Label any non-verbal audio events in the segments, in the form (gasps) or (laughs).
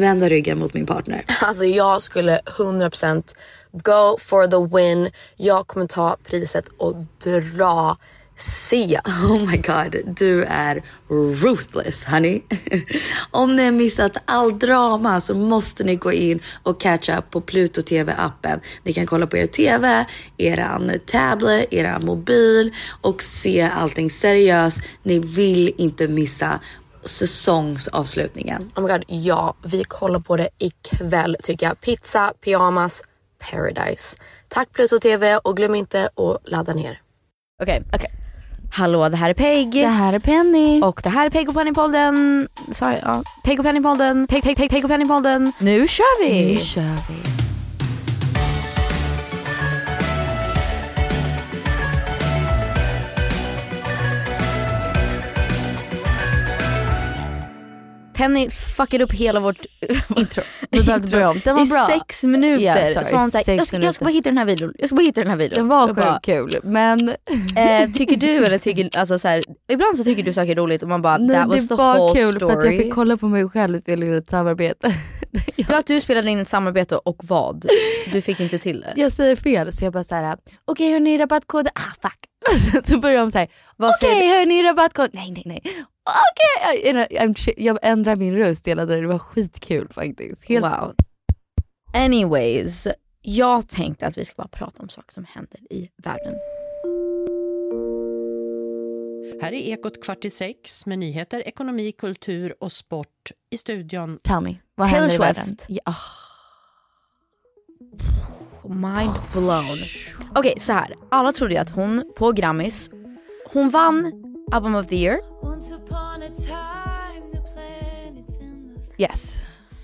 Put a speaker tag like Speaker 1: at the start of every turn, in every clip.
Speaker 1: vända ryggen mot min partner?
Speaker 2: Alltså jag skulle 100% go for the win. Jag kommer ta priset och dra se.
Speaker 1: (laughs) Oh my god, du är ruthless honey. (laughs) Om ni har missat all drama så måste ni gå in och catcha på Pluto TV appen. Ni kan kolla på er TV, eran tablet, eran mobil och se allting seriöst. Ni vill inte missa säsongsavslutningen.
Speaker 2: Oh my god, ja, vi kollar på det ikväll tycker jag. Pizza, pyjamas, paradise. Tack Pluto TV och glöm inte att ladda ner.
Speaker 3: Okej. Hallå, det här är Peg.
Speaker 4: Det här är Penny.
Speaker 3: Och det här är Peg och Pennypodden. Sa jag? Ja. Peg och Pennypodden. Peg, Peg, Peg, Peg och Pennypodden. Nu kör vi!
Speaker 4: Nu kör vi.
Speaker 3: Penny fuckade upp hela
Speaker 4: (laughs)
Speaker 3: vårt (laughs) intro.
Speaker 4: Vi behövde börja om. Den var
Speaker 3: I
Speaker 4: bra.
Speaker 3: sex minuter.
Speaker 4: Ja, sorry,
Speaker 3: så var hon såhär,
Speaker 4: sex
Speaker 3: jag, ska, jag ska
Speaker 4: minuter.
Speaker 3: bara hitta den här videon. Jag ska bara hitta den här videon.
Speaker 4: Den var
Speaker 3: Jag bara,
Speaker 4: sjukt kul men (laughs)
Speaker 3: eh, Tycker du eller tycker, alltså så här, ibland så tycker du saker är roligt och man bara,
Speaker 4: Nej,
Speaker 3: that was
Speaker 4: det
Speaker 3: the
Speaker 4: var
Speaker 3: whole
Speaker 4: kul
Speaker 3: story.
Speaker 4: för att jag fick kolla på mig själv och spela in ett samarbete.
Speaker 3: Det var att du spelade in ett samarbete och vad? Du fick inte till det.
Speaker 4: Jag säger fel så jag bara såhär, okej hörni rabattkoden, ah fuck. (laughs) Så, så börjar de såhär,
Speaker 3: Vad
Speaker 4: okej
Speaker 3: säger du?
Speaker 4: hörni rabattkoden, nej nej nej. Okej, jag- I'm sh- jag ändrar min röst hela tiden, det var skitkul faktiskt. Helt
Speaker 3: Wow. Anyways, jag tänkte att vi ska bara prata om saker som händer i världen.
Speaker 5: Här är Ekot kvart i sex med nyheter, ekonomi, kultur och sport i studion.
Speaker 4: Tell me, vad
Speaker 3: Taylor
Speaker 4: händer i
Speaker 3: Swift.
Speaker 4: världen? Ja, ah,
Speaker 3: Mind blown. Okej, så här. Alla trodde ju att hon på Grammis, hon vann Album of the Year,
Speaker 6: Once upon a time, the planets in the
Speaker 4: yes.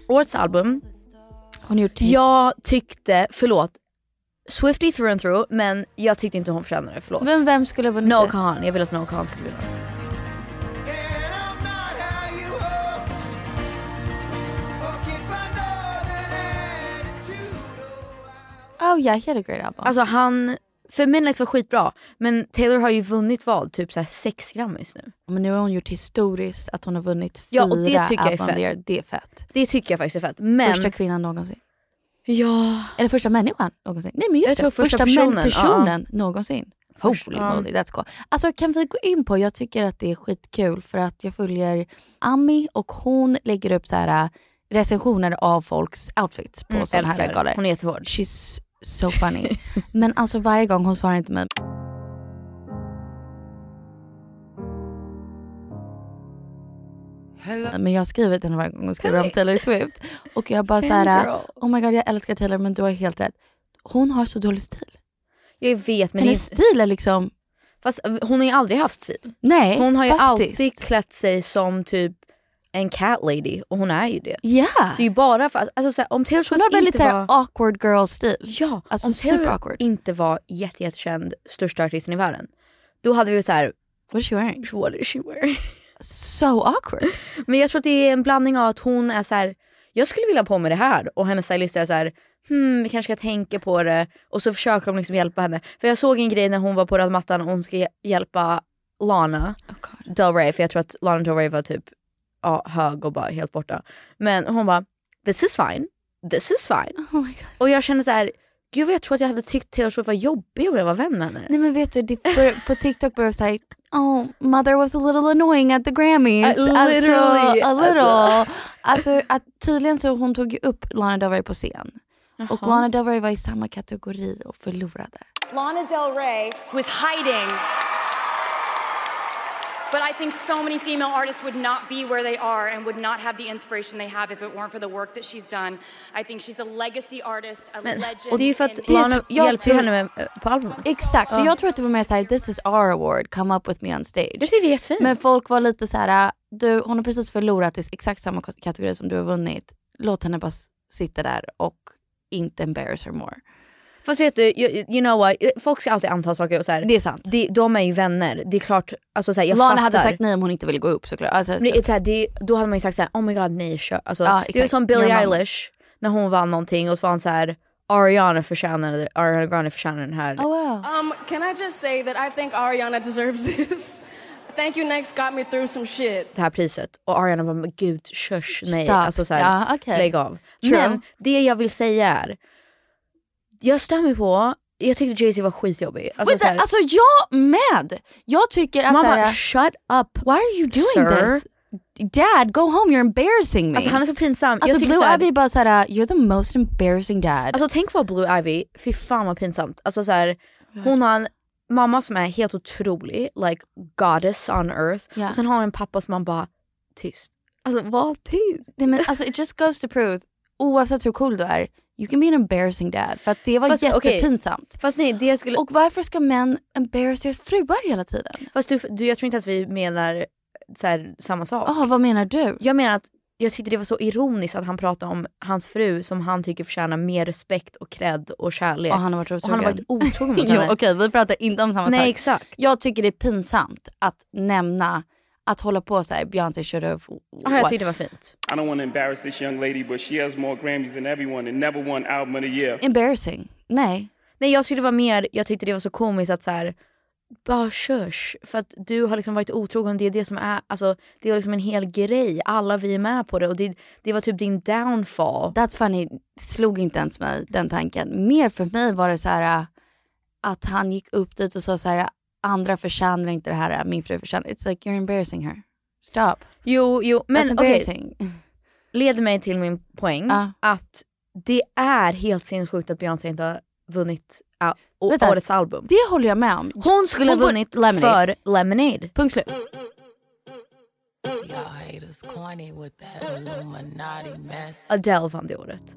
Speaker 3: årets album.
Speaker 4: Hon har gjort
Speaker 3: Jag tyckte, förlåt, Swiftie through and through, men jag tyckte inte hon förtjänade det, förlåt.
Speaker 4: Vem, vem skulle ha vunnit
Speaker 3: Noah
Speaker 4: det?
Speaker 3: Kahan, jag vill att Noah Kahan skulle vinna.
Speaker 4: Oh yeah, he had a great album.
Speaker 3: Alltså han, för Midnight var skitbra, men Taylor har ju vunnit vad, typ så här sex Grammis nu.
Speaker 4: men nu har hon gjort historiskt att hon har vunnit fyra
Speaker 3: Ja, och det tycker jag är
Speaker 4: album of the
Speaker 3: fett.
Speaker 4: year. Det är fett.
Speaker 3: Det tycker jag faktiskt är fett. Men,
Speaker 4: Första kvinnan någonsin.
Speaker 3: ja.
Speaker 4: Eller första människan någonsin. Nej men just
Speaker 3: Jag
Speaker 4: det,
Speaker 3: tror första
Speaker 4: första
Speaker 3: personen,
Speaker 4: män- personen någonsin. Holy
Speaker 3: Först- ja.
Speaker 4: moly, that's cool. Alltså kan vi gå in på, jag tycker att det är skitkul för att jag följer Ami och hon lägger upp så här äh, recensioner av folks outfits på
Speaker 3: Mm,
Speaker 4: sådana här
Speaker 3: älskar.
Speaker 4: galor.
Speaker 3: Hon är jättehård.
Speaker 4: She's so funny. (laughs) Men alltså varje gång hon svarar inte mig. Men jag skriver till henne varje gång hon skriver om Taylor Swift. Och jag bara såhär, oh my god jag älskar Taylor men du har helt rätt. Hon har så dålig stil.
Speaker 3: Jag vet men
Speaker 4: Hennes
Speaker 3: det är-
Speaker 4: stil är liksom,
Speaker 3: fast hon har ju aldrig haft stil.
Speaker 4: nej
Speaker 3: Hon har ju
Speaker 4: faktiskt.
Speaker 3: alltid klätt sig som typ en cat lady och hon är ju det.
Speaker 4: Ja.
Speaker 3: Det är ju bara för att, alltså, såhär, om Taylor
Speaker 4: Hon
Speaker 3: Swift
Speaker 4: har väldigt
Speaker 3: inte
Speaker 4: såhär
Speaker 3: var...
Speaker 4: awkward girl stil.
Speaker 3: Ja,
Speaker 4: Alltså,
Speaker 3: om
Speaker 4: super
Speaker 3: Taylor
Speaker 4: awkward.
Speaker 3: inte var jätte, jättekänd, största artisten i världen, då hade vi så här,
Speaker 4: What is she wearing?
Speaker 3: what is she wearing? (laughs)
Speaker 4: So awkward.
Speaker 3: Men jag tror att det är en blandning av att hon är så här, jag skulle vilja ha på mig det här och hennes stylist är så här, hmm vi kanske ska tänka på det och så försöker de liksom hjälpa henne. För jag såg en grej när hon var på röda mattan och hon ska hj- hjälpa Lana
Speaker 4: Oh god.
Speaker 3: Del Rey, för jag tror att Lana Del Rey var typ ja, hög och bara helt borta. Men hon bara, this is fine, this is fine.
Speaker 4: (laughs) Oh my god.
Speaker 3: Och jag känner så här, gud vad jag tror att jag hade tyckt Taylor Swift var jobbig om jag var vän med henne.
Speaker 4: Nej men vet du, det för, på TikTok började det såhär, oh mother was a little annoying at the Grammys.
Speaker 3: Uh, literally.
Speaker 4: Alltså, a little. Alltså att tydligen så hon tog ju upp Lana Del Rey på scen. Och Lana Del Rey var i samma kategori och förlorade.
Speaker 7: Lana Del Rey was hiding. But I think so many female artists would not be where they are and would not have the inspiration they have if it weren't for the work that she's done. I think she's a legacy artist, a legend.
Speaker 3: Och det är ju för
Speaker 7: in-
Speaker 3: att
Speaker 4: Det
Speaker 3: Lana
Speaker 4: tr- jag
Speaker 3: hjälpte ju
Speaker 4: tror-
Speaker 3: henne med, eh, på albumet.
Speaker 4: Exakt, så jag tror att det var mer såhär, this is our award, come up with me on
Speaker 3: Jag
Speaker 4: stage.
Speaker 3: tycker det är jättefint.
Speaker 4: Men folk var lite så här, äh, du, hon har precis förlorat i exakt samma k- kategori som du har vunnit. Låt henne bara s- sitta där och inte embarrass her more.
Speaker 3: Fast vet du, you, you know what, folk ska alltid anta saker och så här.
Speaker 4: Det är sant.
Speaker 3: Det, de är ju vänner, det är klart, alltså så här, jag
Speaker 4: Lana
Speaker 3: fattar.
Speaker 4: hade sagt nej om hon inte ville gå upp såklart. Alltså,
Speaker 3: Men det är så här, det, då hade man ju sagt såhär, oh my god nej kör. Alltså,
Speaker 4: Ja,
Speaker 3: det är
Speaker 4: exakt.
Speaker 3: som Billie
Speaker 4: Your mama.
Speaker 3: Eilish när hon vann någonting och så var hon såhär, Ariana förtjänade, Ariana Grande förtjänar den här.
Speaker 4: Oh, wow.
Speaker 8: Um, can I just say that I think Ariana deserves (laughs) this? Thank you next got me through some shit.
Speaker 3: det här priset och Ariana bara men gud körs nej.
Speaker 4: Stop.
Speaker 3: Alltså så här,
Speaker 4: Ja, okej.
Speaker 3: lägg av.
Speaker 4: True.
Speaker 3: Men det jag vill säga är, jag stämmer på, jag tyckte Jay-Z var skitjobbig. Alltså,
Speaker 4: Wait,
Speaker 3: så här,
Speaker 4: alltså jag med! Jag tycker att
Speaker 3: man
Speaker 4: såhär,
Speaker 3: bara shut up.
Speaker 4: why are you doing
Speaker 3: sir.
Speaker 4: this? Dad, go home, you're embarrassing me.
Speaker 3: Alltså han är så pinsam.
Speaker 4: Alltså,
Speaker 3: jag tycker
Speaker 4: Blue
Speaker 3: så här,
Speaker 4: Ivy bara såhär, you're the most embarrassing dad.
Speaker 3: Alltså tänk vad Blue Ivy, fy fan vad pinsamt. Alltså så här, hon har en mamma som är helt otrolig, like goddess on earth.
Speaker 4: Ja.
Speaker 3: Och sen har hon en pappa som man bara, tyst. Alltså var tyst.
Speaker 4: Nej, men, alltså it just goes to prove, oavsett hur cool du är, you can be an embarrassing dad. För att det var
Speaker 3: Fast, okej.
Speaker 4: jättepinsamt.
Speaker 3: Fast nej, det jag skulle...
Speaker 4: Och varför ska män embarrass deras fruar hela tiden?
Speaker 3: Fast du, du, jag tror inte att vi menar så här, samma sak.
Speaker 4: Jaha, vad menar du?
Speaker 3: Jag menar att jag tyckte det var så ironiskt att han pratade om hans fru som han tycker förtjänar mer respekt och cred och kärlek.
Speaker 4: Ja, han har varit
Speaker 3: och han har varit
Speaker 4: otrogen.
Speaker 3: otrogen mot
Speaker 4: (laughs) Jo,
Speaker 3: henne.
Speaker 4: okej, vi pratar inte om samma
Speaker 3: Nej
Speaker 4: sak.
Speaker 3: exakt.
Speaker 4: Jag tycker det är pinsamt att nämna, att hålla på så här, Beyoncé should have...
Speaker 3: Ja, jag tyckte det var fint.
Speaker 8: I don't want to embarrass this young lady, but she has more Grammys than everyone and never won album of the year.
Speaker 4: Embarrassing. Nej.
Speaker 3: Nej jag tyckte det var mer, jag tyckte det var så komiskt att så här bara körs. För att du har liksom varit otrogen, det är det som är, alltså det är liksom en hel grej. Alla vi är med på det och det, det var typ din downfall.
Speaker 4: That's funny slog inte ens mig, den tanken. Mer för mig var det så här äh, att han gick upp dit och sa så här, andra förtjänar inte det här, äh, min fru förtjänar. It's like you're embarrassing her. Stop.
Speaker 3: Jo, jo,
Speaker 4: That's
Speaker 3: men okej.
Speaker 4: embarrassing.
Speaker 3: leder mig till min poäng
Speaker 4: Ja.
Speaker 3: att det är helt sinnessjukt att Beyoncé inte har vunnit ä, å-
Speaker 4: Vänta.
Speaker 3: årets album.
Speaker 4: Det håller jag med om.
Speaker 3: Hon skulle
Speaker 4: Hon
Speaker 3: ha
Speaker 4: borde-
Speaker 3: vunnit
Speaker 4: Lemonade.
Speaker 3: för Lemonade.
Speaker 4: Punkt slut.
Speaker 3: Adele vann det året.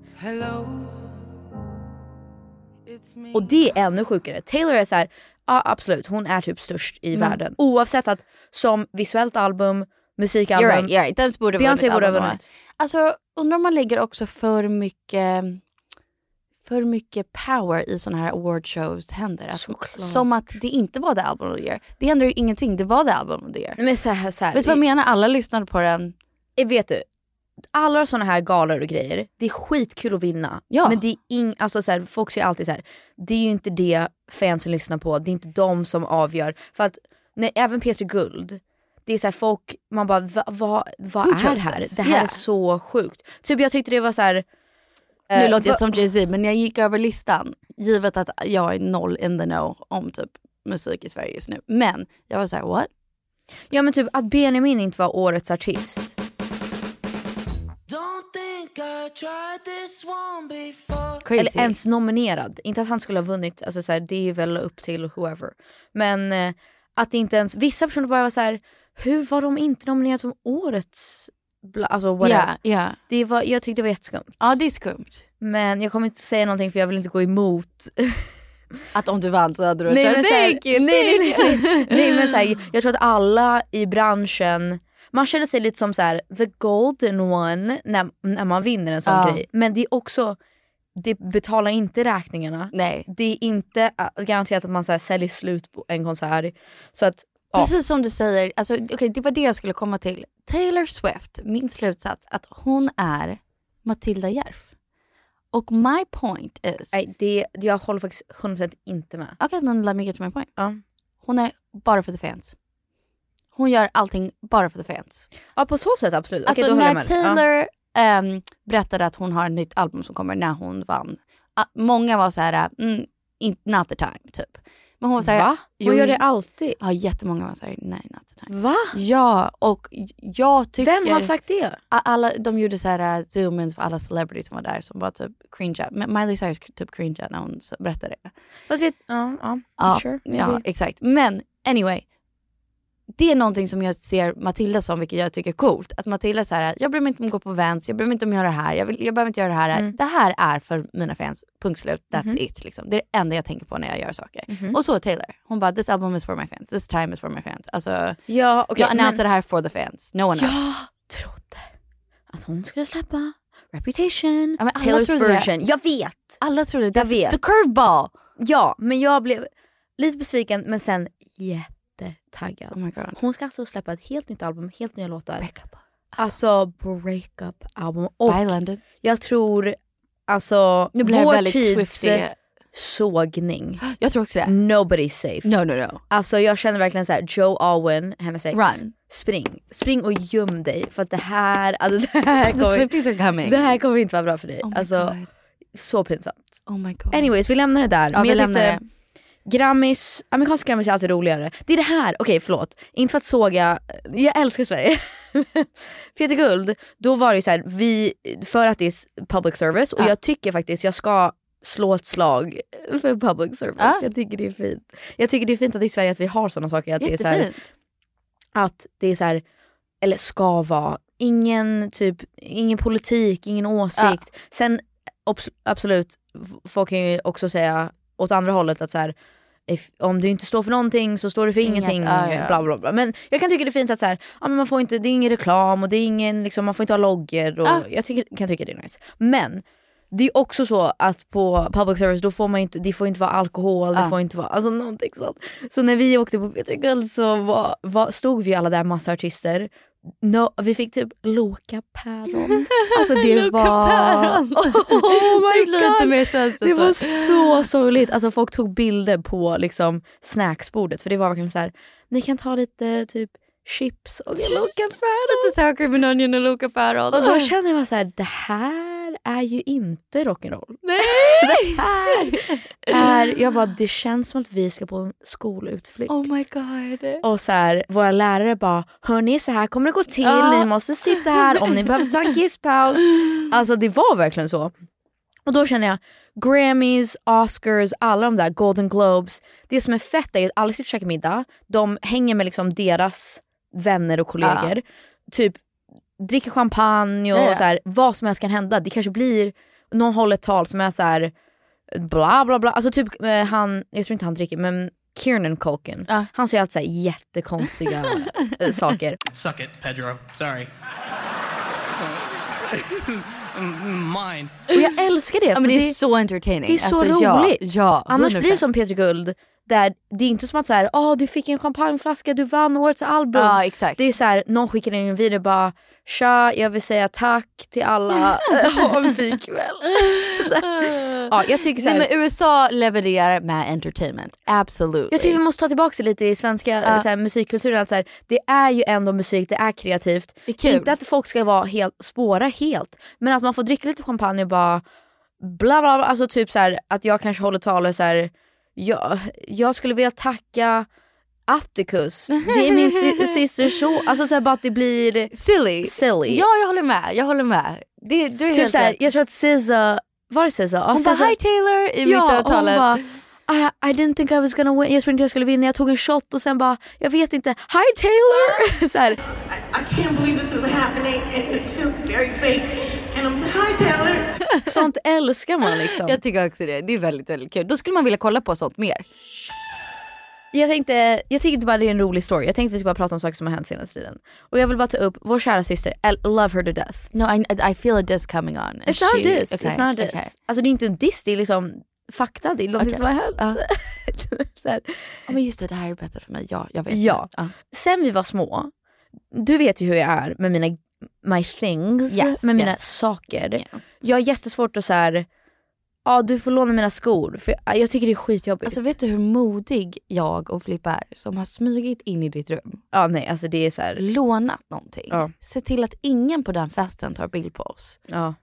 Speaker 3: Och det är ännu sjukare. Taylor är så här, ja absolut hon är typ störst i
Speaker 4: Mm.
Speaker 3: världen. Oavsett att som visuellt album, musikalbum,
Speaker 4: You're right, you're right. Den borde
Speaker 3: Beyoncé
Speaker 4: vunnit
Speaker 3: borde ha
Speaker 4: alla
Speaker 3: vunnit.
Speaker 4: Alltså undrar om man lägger också för mycket för mycket power i sådana här awardshows händer. Alltså,
Speaker 3: Såklart.
Speaker 4: som att det inte var The Album of the Year. Det händer ju ingenting, det var The Album of the Year.
Speaker 3: Nej, Men så här, så här,
Speaker 4: Vet du vad jag menar? Alla lyssnade på den.
Speaker 3: vet du, alla såna här galor och grejer, det är skitkul att vinna.
Speaker 4: Ja.
Speaker 3: Men det är ing, alltså så här, folk säger alltid så här, det är ju inte det fansen lyssnar på, det är inte de som avgör. För att, nej, även Peter Guld, det är så här folk, man bara va, va, vad
Speaker 4: Who
Speaker 3: är det
Speaker 4: chose
Speaker 3: här?
Speaker 4: this?
Speaker 3: Det här
Speaker 4: Yeah.
Speaker 3: är så sjukt. Typ jag tyckte det var så här.
Speaker 4: Nu
Speaker 3: eh,
Speaker 4: låter
Speaker 3: va-
Speaker 4: jag som Jay-Z men jag gick över listan. Givet att jag är noll in the know om typ musik i Sverige just nu. Men jag var såhär what?
Speaker 3: Ja men typ att Benjamin inte var årets artist.
Speaker 1: Don't think
Speaker 3: Eller ens nominerad. Inte att han skulle ha vunnit, alltså så här, det är väl upp till whoever. Men eh, att det inte ens, vissa personer bara var så här, hur var de inte nominerade som årets bla, alltså whatever.
Speaker 4: Ja, ja.
Speaker 3: Det var, jag tyckte det var jätteskumt.
Speaker 4: Ja, det är skumt.
Speaker 3: Men jag kommer inte säga någonting för jag vill inte gå emot.
Speaker 4: Att om du vann så hade du varit
Speaker 3: Nej,
Speaker 4: såhär,
Speaker 3: men så här-
Speaker 4: thank you,
Speaker 3: nej, nej,
Speaker 4: thank you." (laughs)
Speaker 3: nej, nej men så här, jag tror att alla i branschen, man känner sig lite som så här, the golden one när, när man vinner en sån
Speaker 4: Ja.
Speaker 3: grej. Men det är också, det betalar inte räkningarna.
Speaker 4: Nej.
Speaker 3: Det är inte äh, garanterat att man så här, säljer slut på en konsert. Så att, ja.
Speaker 4: Precis som du säger, alltså, okej, det var det jag skulle komma till. Taylor Swift, min slutsats, att hon är Matilda Järf. Och my point is, okej
Speaker 3: Nej, det, jag håller faktiskt 100% inte med.
Speaker 4: men let me get to my point.
Speaker 3: Ja.
Speaker 4: Hon är bara för the fans. Hon gör allting bara för the fans.
Speaker 3: Ja på så sätt absolut. Okej,
Speaker 4: alltså
Speaker 3: då håller jag
Speaker 4: när
Speaker 3: med dig. Ja.
Speaker 4: Taylor ehm, berättade att hon har ett nytt album som kommer när hon vann, ah, många var så här, mm, in- not the time typ. Men hon var så här,
Speaker 3: Va? Hon
Speaker 4: Jo,
Speaker 3: gör
Speaker 4: jo.
Speaker 3: det alltid.
Speaker 4: ja jättemånga var så här, nej not the time.
Speaker 3: Va?
Speaker 4: Ja, och jag tycker...
Speaker 3: Vem har sagt det?
Speaker 4: A- alla, de gjorde så här äh, zoom-ins för alla celebrities som var där som var typ cringe. Men Miley Cyrus typ cringe när hon s- berättade det.
Speaker 3: Fast vet, ja, ja,
Speaker 4: Ja,
Speaker 3: sure.
Speaker 4: ja
Speaker 3: maybe.
Speaker 4: exakt. Men anyway. Det är någonting som jag ser Matilda som, vilket jag tycker är coolt. Att Matilda är så här, jag bryr mig inte om att gå på Vans, jag bryr mig inte om att göra det här, jag, vill, jag behöver inte göra det här.
Speaker 3: Mm.
Speaker 4: Det här är för mina fans, punkt slut, that's
Speaker 3: Mhm.
Speaker 4: it. Liksom. Det är det enda jag tänker på när jag gör saker.
Speaker 3: Mhm.
Speaker 4: Och så Taylor, hon bara, this album is for my fans, this time is for my fans. Alltså,
Speaker 3: Ja, okej,
Speaker 4: jag annonserar
Speaker 3: men-
Speaker 4: det här for the fans, no one else.
Speaker 3: Jag trodde att hon skulle släppa Reputation,
Speaker 4: Ja, men alla
Speaker 3: Taylor's
Speaker 4: trodde det.
Speaker 3: version. Jag vet!
Speaker 4: Alla trodde,
Speaker 3: Jag
Speaker 4: that's
Speaker 3: vet.
Speaker 4: the curveball!
Speaker 3: Ja, men jag blev lite besviken men sen jättetaggad.
Speaker 4: Oh my god.
Speaker 3: Hon ska alltså släppa ett helt nytt album, helt nya låtar. Alltså breakup album. Och
Speaker 4: Bye, Landon.
Speaker 3: jag tror alltså
Speaker 4: Nu blir det
Speaker 3: vår
Speaker 4: väldigt
Speaker 3: tids
Speaker 4: swiftig. (gasps)
Speaker 3: sågning.
Speaker 4: Jag tror också det.
Speaker 3: Nobody's safe.
Speaker 4: No, no, no.
Speaker 3: Alltså jag känner verkligen så här: Joe Alwyn, hennes ex.
Speaker 4: Run.
Speaker 3: Spring. Spring och göm dig för att det här, alltså det här
Speaker 4: The
Speaker 3: kommer,
Speaker 4: Swifties are coming.
Speaker 3: det här kommer inte vara bra för dig.
Speaker 4: oh my
Speaker 3: alltså
Speaker 4: god.
Speaker 3: så pinsamt.
Speaker 4: Oh my god.
Speaker 3: Anyways vi lämnar det där.
Speaker 4: ja, vi
Speaker 3: jag
Speaker 4: lämnar
Speaker 3: tyckte
Speaker 4: det.
Speaker 3: Grammis, amerikanska Grammis är alltid roligare. Det är det här, okej förlåt. Inte för att såga, jag älskar Sverige. (laughs) Peter Guld, då var det ju så här, vi, för att det är s- public service och
Speaker 4: Ja.
Speaker 3: jag tycker faktiskt jag ska slå ett slag för public service.
Speaker 4: Ja.
Speaker 3: Jag tycker det är fint. Jag tycker det är fint att i Sverige att vi har sådana saker. Att det är så här,
Speaker 4: Jättefint.
Speaker 3: att det är så här, eller ska vara, ingen typ, ingen politik, ingen åsikt. Sen obs- absolut, f- folk kan ju också säga åt andra hållet att så här, if, om du inte står för någonting så står du för
Speaker 4: Inget,
Speaker 3: ingenting.
Speaker 4: ja, ja.
Speaker 3: Bla, bla, bla. Men jag kan tycka det är fint att så här, ja, men man får inte, det är ingen reklam och det är ingen, liksom, man får inte ha loggor. Och,
Speaker 4: Ja.
Speaker 3: Jag tycker, kan tycka det är nice. Men det är också så att på public service då får man inte, det får inte vara alkohol, det
Speaker 4: Ja.
Speaker 3: får inte vara alltså någonting sånt. Så när vi åkte på Peter Gull så var, var, stod vi alla där, massa artister. No, vi fick typ Loka Päron.
Speaker 4: (laughs)
Speaker 3: Alltså det
Speaker 4: Loka
Speaker 3: var... (laughs)
Speaker 4: Päron.
Speaker 3: Oh my
Speaker 4: det blir inte
Speaker 3: God.
Speaker 4: mer svenskt än
Speaker 3: Det
Speaker 4: så.
Speaker 3: var så sorgligt. Alltså folk tog bilder på liksom snacksbordet för det var verkligen så här. ni kan ta lite typ chips och Loka Päron.
Speaker 4: Lite sour cream and onion och Loka Päron.
Speaker 3: Och då känner man så här, det här är ju inte rock'n'roll.
Speaker 4: Nej!
Speaker 3: (laughs) Det här är, jag bara, det känns som att vi ska på en skolutflykt.
Speaker 4: Oh my god.
Speaker 3: Och så här, våra lärare bara, hörni så här kommer det gå till,
Speaker 4: Ja.
Speaker 3: ni måste sitta här om ni behöver
Speaker 4: (laughs)
Speaker 3: ta en kisspaus. Alltså det var verkligen så. Och då känner jag, Grammys, Oscars, alla de där Golden Globes. Det som är fett är ju att alla sitter och käkar middag, de hänger med liksom deras vänner och kollegor. Typ dricker champagne och
Speaker 4: Ja, ja.
Speaker 3: så här, vad som helst kan hända. Det kanske blir, någon håller ett tal som är så här bla bla bla. Alltså typ eh, han, jag tror inte han dricker men Kiernan Culkin.
Speaker 4: Ja.
Speaker 3: Han säger alltid så här
Speaker 4: (laughs)
Speaker 3: jättekonstiga eh, saker.
Speaker 9: Suck it, Pedro.
Speaker 1: (laughs)
Speaker 9: Sorry. (laughs) Mm, Mine.
Speaker 3: Och jag älskar det.
Speaker 4: Ja,
Speaker 3: för
Speaker 4: men Alltså, det är så entertaining.
Speaker 3: det är så
Speaker 4: alltså,
Speaker 3: roligt.
Speaker 4: Ja, ja,
Speaker 3: Annars blir det
Speaker 4: 100%.
Speaker 3: som Peter Guld, där det är inte som att så här, "Ah, du fick en champagneflaska, du vann årets album.
Speaker 4: Ja, exakt.
Speaker 3: Det är så här, någon skickar in en video och bara Tja, jag vill säga tack till
Speaker 4: (laughs)
Speaker 3: alla. (laughs) Ha en fin kväll. Så här. Ja, jag tycker så här,
Speaker 4: Nej, men USA levererar med entertainment. Absolutely.
Speaker 3: Jag tycker vi måste ta tillbaka det lite i svenska eh,
Speaker 4: Ja.
Speaker 3: så här, musikkulturen. Att så här, det är ju ändå musik, det är kreativt.
Speaker 4: Det är kul.
Speaker 3: Inte att folk ska vara helt, spåra helt, men att man får dricka lite champagne och bara bla bla bla. Alltså typ så här, att jag kanske håller tal och så här, jag, jag skulle vilja tacka Atticus, det är min
Speaker 4: (laughs)
Speaker 3: sy- systers son. Alltså så här, bara att det blir
Speaker 4: Silly.
Speaker 3: silly.
Speaker 4: Ja, jag håller med. Jag håller med. Det, du är
Speaker 3: typ
Speaker 4: helt
Speaker 3: såhär,
Speaker 4: rätt.
Speaker 3: jag tror att SZA, var det SZA? Ja,
Speaker 4: Hon bara,
Speaker 3: SZA
Speaker 4: "Hi, Taylor", i
Speaker 3: ja,
Speaker 4: mitten av talet.
Speaker 3: Hon bara, I, I didn't think I was gonna win. Jag trodde inte jag skulle vinna. Jag tog en shot och sen bara, jag vet inte. Hi Taylor! så här.
Speaker 10: I can't believe this is happening. It, it feels very fake. And I'm like, hi, Taylor.
Speaker 4: (laughs)
Speaker 3: Sånt älskar man liksom.
Speaker 4: Jag tycker också det. Det är väldigt, väldigt kul. Då skulle man vilja kolla på sånt mer.
Speaker 3: Jag tänkte, jag tyckte bara det är en rolig story. Jag tänkte vi ska bara prata om saker som har hänt senaste tiden. Och jag vill bara ta upp vår kära syster, I love her to death.
Speaker 4: No, I, I feel a diss coming on.
Speaker 3: It's not a
Speaker 4: She-
Speaker 3: diss,
Speaker 4: okay,
Speaker 3: it's not a diss.
Speaker 4: okay.
Speaker 3: Alltså det är inte en diss, det är liksom fakta, det är någonting
Speaker 4: Okej.
Speaker 3: som har hänt. (laughs) så här.
Speaker 4: Ja, men just det, det här är berättat för mig. Ja, jag vet.
Speaker 3: Ja. Sen vi var små, du vet ju hur jag är med mina my things,
Speaker 4: Yes,
Speaker 3: med mina
Speaker 4: yes.
Speaker 3: saker. Jag har jättesvårt att så här, ja du får låna mina skor, för jag, jag tycker det är skitjobbigt. (laughs)
Speaker 4: Alltså vet du hur modig jag och Filippa är som har smugit in i ditt rum,
Speaker 3: ja nej alltså det är så här,
Speaker 4: lånat någonting,
Speaker 3: Ja.
Speaker 4: se till att ingen på den festen tar bild på oss,
Speaker 3: ja.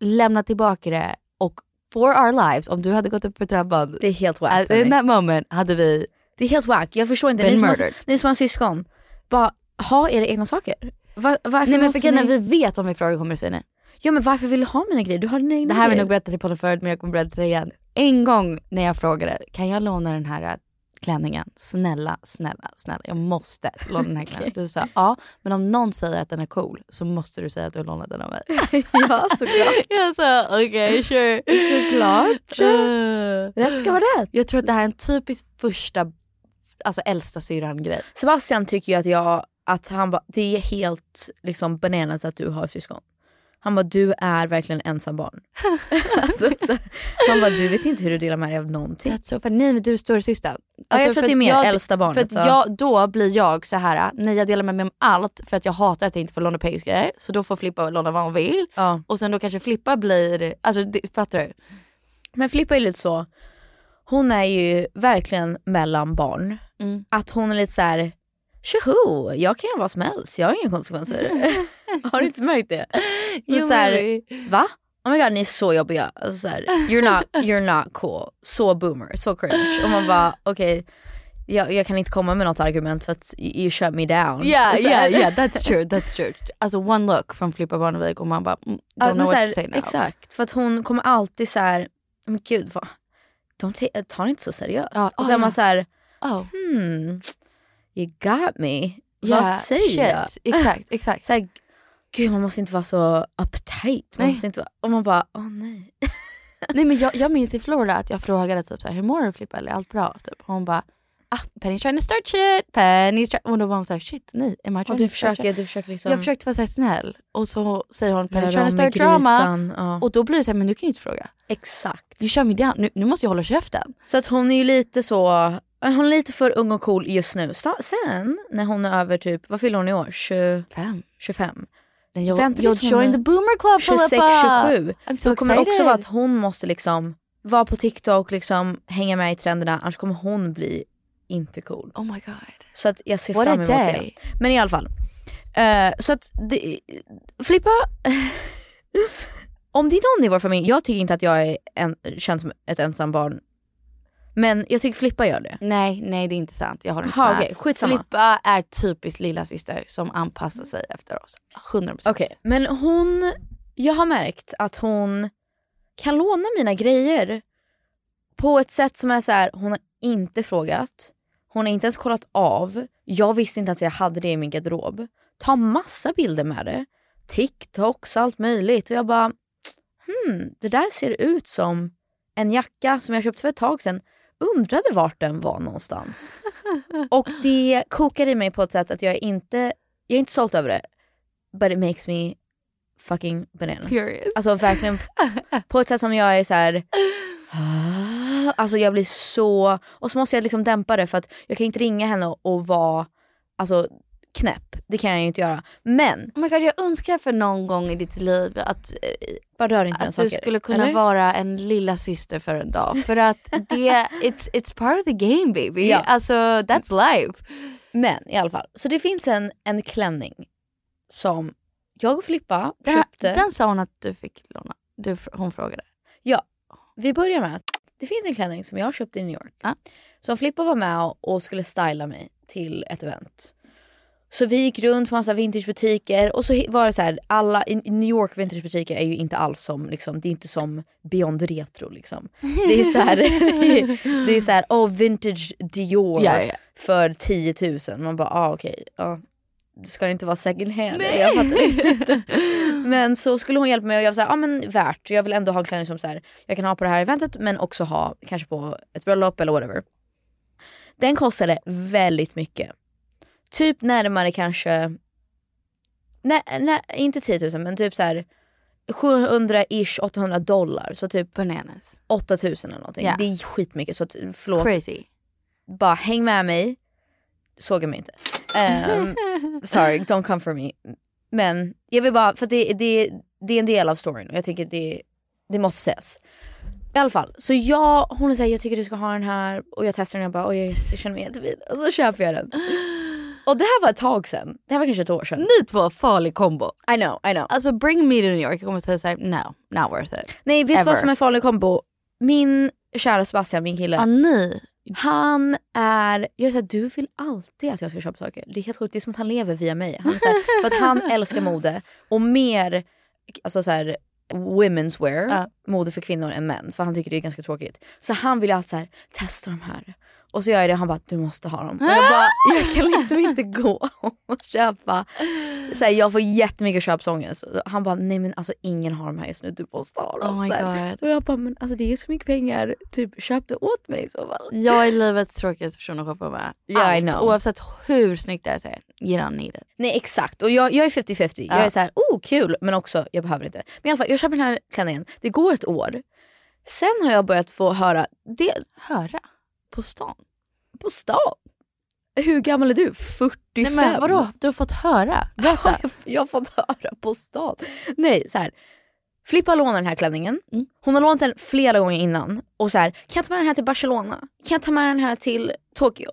Speaker 4: lämnat tillbaka det och for our lives, om du hade gått upp för trappan,
Speaker 3: det är helt wack.
Speaker 4: at, in
Speaker 3: hörni.
Speaker 4: that moment hade vi,
Speaker 3: Det är helt wack, jag förstår inte.
Speaker 4: alltså, Been
Speaker 3: Ni som, har,
Speaker 4: murdered.
Speaker 3: ni som har syskon, bara ha era egna saker. Var, varför
Speaker 4: nej men för
Speaker 3: måste
Speaker 4: grejen
Speaker 3: ni...
Speaker 4: är, vi vet om vi frågar kommer du säga nej.
Speaker 3: Ja men varför vill du ha mina grejer? Du har dina egna
Speaker 4: Det här har vi
Speaker 3: grejer.
Speaker 4: nog berättat i podden förut men jag kommer berätta det igen. En gång när jag frågade, kan jag låna den här äh, klänningen? Snälla, snälla, snälla, jag måste låna den här klänningen. Du sa, ja, men om någon säger att den är cool så måste du säga att du har lånat den av mig.
Speaker 3: ja såklart.
Speaker 4: jag sa,
Speaker 3: (laughs)
Speaker 4: okej, sure. (laughs)
Speaker 3: Såklart.
Speaker 4: Eh,
Speaker 3: Rätt ska vara rätt.
Speaker 4: Jag tror att det här är en typisk första, alltså äldsta syrran-grej.
Speaker 3: (laughs) Sebastian tycker ju att jag, att han bara, det är helt liksom bananas att du har syskon. Han bara, du är verkligen ensam barn. (laughs) alltså, så, han bara, du vet inte hur du delar med dig av någonting.
Speaker 4: That's so funny. Nej men du är storasyster.
Speaker 3: jag tror att det är mer äldsta barnet, alltså.
Speaker 4: För Alltså, att
Speaker 3: så.
Speaker 4: jag, då blir jag så här, nej jag delar med mig om allt för att jag hatar att jag inte får låna pengar. Så då får Flippa låna vad hon vill.
Speaker 3: Ja.
Speaker 4: Och sen då kanske Flippa blir, alltså det, fattar du?
Speaker 3: Men Filippa är lite så, hon är ju verkligen mellan barn.
Speaker 4: Mm.
Speaker 3: Att hon är lite så här. tjoho, jag kan göra vad som helst, jag har inga
Speaker 4: (laughs)
Speaker 3: konsekvenser. har du inte märkt det? Men
Speaker 4: Jo,
Speaker 3: så här,
Speaker 4: men vi-
Speaker 3: Va? Oh my god ni är så jobbiga. Alltså, så här, you're, not, you're not cool. Så boomer, så cringe. Och man bara okej, jag, jag kan inte komma med något argument för att you you shut me down.
Speaker 4: Yeah,
Speaker 3: Så
Speaker 4: yeah,
Speaker 3: här.
Speaker 4: yeah, that's true, that's true. Alltså one look från Filippa Barnevik och man bara, mm,
Speaker 3: Ja,
Speaker 4: don't know
Speaker 3: men så
Speaker 4: what
Speaker 3: här,
Speaker 4: to say now.
Speaker 3: Exakt, för att hon kommer alltid så här, men gud vad, de ta- tar inte så seriöst.
Speaker 4: Ja,
Speaker 3: och
Speaker 4: oh,
Speaker 3: så är man
Speaker 4: ja.
Speaker 3: så här,
Speaker 4: Oh.
Speaker 3: hmm, you got me. vad
Speaker 4: Yeah,
Speaker 3: säger
Speaker 4: shit.
Speaker 3: jag?
Speaker 4: Exakt, exakt.
Speaker 3: Så här, gud man måste inte vara så uptight. Man
Speaker 4: Nej.
Speaker 3: måste inte vara, och man bara, åh nej.
Speaker 4: Nej men jag, jag minns i Florida att jag frågade typ så här, hur mår du Filippa? Eller allt bra? Typ. Hon bara, ah, Penny's trying to start shit, Penny's trying... Och då var hon såhär, shit nej, am I
Speaker 3: Och
Speaker 4: trying
Speaker 3: du
Speaker 4: to start
Speaker 3: försöker,
Speaker 4: shit?
Speaker 3: du försöker liksom.
Speaker 4: Jag försökte vara så här snäll och så säger hon,
Speaker 3: Röra
Speaker 4: Penny's trying
Speaker 3: om
Speaker 4: to
Speaker 3: i
Speaker 4: start drama.
Speaker 3: grytan, ja.
Speaker 4: Och då blir det så här, men du kan ju inte fråga.
Speaker 3: Exakt.
Speaker 4: Du kör mig down, nu, nu måste jag hålla käften.
Speaker 3: Så att hon är ju lite så, hon är lite för ung och cool just nu. Sa- Sen när hon är över typ, vad fyller hon i år? 20,
Speaker 4: Fem.
Speaker 3: 25?
Speaker 4: Nej, jag,
Speaker 3: Vänta
Speaker 4: jag
Speaker 3: tills hon
Speaker 4: join
Speaker 3: är
Speaker 4: the boomer club
Speaker 3: 26,
Speaker 4: Filippa!
Speaker 3: 27.
Speaker 4: I'm so
Speaker 3: Då kommer det också
Speaker 4: excited.
Speaker 3: vara att hon måste liksom vara på TikTok, liksom hänga med i trenderna annars kommer hon bli inte cool.
Speaker 4: Oh my god.
Speaker 3: Så att jag ser
Speaker 4: What
Speaker 3: fram
Speaker 4: a
Speaker 3: emot
Speaker 4: day.
Speaker 3: det. Men i alla fall. Eh, så att det, Flippa, (laughs) om det är någon i vår familj, jag tycker inte att jag är en, känns som ett ensam barn. Men jag tycker Flippa gör det.
Speaker 4: Nej, nej det är inte sant. Jag håller inte
Speaker 3: Jaha,
Speaker 4: med.
Speaker 3: okej, skitsamma.
Speaker 4: Filippa är typiskt lilla syster som anpassar sig efter oss. 100%.
Speaker 3: Okej, men hon, jag har märkt att hon kan låna mina grejer på ett sätt som är så här, hon har inte frågat, hon har inte ens kollat av, jag visste inte ens jag hade det i min garderob. Ta massa bilder med det, TikToks allt möjligt och jag bara, hmm, det där ser ut som en jacka som jag köpte för ett tag sedan, undrade vart den var någonstans. och det kokar i mig på ett sätt att jag är inte, jag är inte sålt över det but it makes me fucking bananas.
Speaker 4: Furious.
Speaker 3: Alltså verkligen på ett sätt som jag är så här. "Ah", Alltså jag blir så, och så måste jag liksom dämpa det för att jag kan inte ringa henne och- och vara alltså, knäpp. Det kan jag ju inte göra. Men,
Speaker 4: Oh my god, jag önskar för någon gång i ditt liv att, eh,
Speaker 3: bara rör inte mina
Speaker 4: att du
Speaker 3: saker.
Speaker 4: skulle kunna
Speaker 3: eller?
Speaker 4: vara en lilla syster för en dag. För att (laughs) det, it's, it's part of the game baby.
Speaker 3: Ja.
Speaker 4: Alltså that's life.
Speaker 3: Men i alla fall, så det finns en, en klänning som jag och Filippa
Speaker 4: Den,
Speaker 3: köpte.
Speaker 4: den sa hon att du fick låna. Du, fr- hon frågade.
Speaker 3: Ja, vi börjar med att det finns en klänning som jag köpte i New York.
Speaker 4: Ja.
Speaker 3: Som Filippa var med och- och skulle styla mig till ett event. Så vi gick runt på massa vintagebutiker och så hi- var det så här, alla, i i New York vintagebutiker är ju inte alls som, liksom, det är inte som Beyond Retro liksom. Det är så här, (laughs) det är, det är så här oh vintage Dior
Speaker 4: Ja, ja.
Speaker 3: för 10 000. Man bara, ah okej, ja. Ska det inte vara second hand? Jag fattar inte. Men så skulle hon hjälpa mig och jag var såhär, ja ah, men värt. Jag vill ändå ha en klänning som så här, jag kan ha på det här eventet men också ha kanske på ett bröllop eller whatever. Den kostade väldigt mycket. Typ närmare kanske, nej, nej inte 10 000 men typ så här 700-ish 800 dollar. Så typ
Speaker 4: Bananas.
Speaker 3: 8 000 eller någonting.
Speaker 4: Ja.
Speaker 3: Det är skitmycket så att, förlåt.
Speaker 4: Crazy.
Speaker 3: Bara häng med mig. Såg jag mig inte.
Speaker 4: (laughs)
Speaker 3: Ehm, sorry, don't come for me. Men jag vill bara, för att det, det, det är en del av storyn och jag tycker det, det måste sägas. I alla fall, så jag, hon säger jag tycker du ska ha den här och jag testar den och jag bara oj jag, jag känner mig jättevid och så köper jag den. Och det här var ett tag sedan, det här var kanske ett år sedan.
Speaker 4: Ni två, farlig kombo.
Speaker 3: I know, I know.
Speaker 4: Alltså bring me to New York, jag kommer säga såhär, no, not worth it.
Speaker 3: Nej vet du
Speaker 4: Ever.
Speaker 3: vad som är en farlig kombo? Min kära Sebastian, min kille.
Speaker 4: Ah, nej.
Speaker 3: Han är, jag är såhär, du vill alltid att jag ska köpa saker. Det är helt sjukt, det är som att han lever via mig. Han är såhär, för att han
Speaker 4: (laughs)
Speaker 3: älskar mode och mer alltså såhär, women's wear, mode för kvinnor än män. För han tycker det är ganska tråkigt. Så han vill ju alltid såhär, testa de här. Och så gör jag det och han bara, du måste ha dem. Och jag bara,
Speaker 4: (laughs)
Speaker 3: jag kan liksom inte gå och köpa. Så här, jag får jättemycket köpsångest. Och Han bara, nej men alltså ingen har de här just nu, du måste ha dem.
Speaker 4: Oh my
Speaker 3: så här.
Speaker 4: God.
Speaker 3: Och jag bara, men alltså det är så mycket pengar, typ köp det åt mig i så fall.
Speaker 4: Jag är livets tråkigaste person att shoppa med.
Speaker 3: Yeah, I
Speaker 4: Allt,
Speaker 3: know.
Speaker 4: Oavsett hur snyggt det är så är det, you don't need it.
Speaker 3: Nej exakt, och jag, jag är 50-50. Jag
Speaker 4: Ja.
Speaker 3: är så här, oh kul, men också jag behöver inte. Men i alla fall, jag köper den här klänningen, det går ett år. Sen har jag börjat få höra, det,
Speaker 4: Höra? På stan?
Speaker 3: på stan. Hur gammal är du? 45?
Speaker 4: Nej men vadå, du har fått höra?
Speaker 3: Berätta. (laughs) jag har fått höra på stan. Nej, så här. Flippa lånar den här klänningen.
Speaker 4: Mm.
Speaker 3: Hon har lånat den flera gånger innan. Och så här, kan jag ta med den här till Barcelona? Kan jag ta med den här till Tokyo?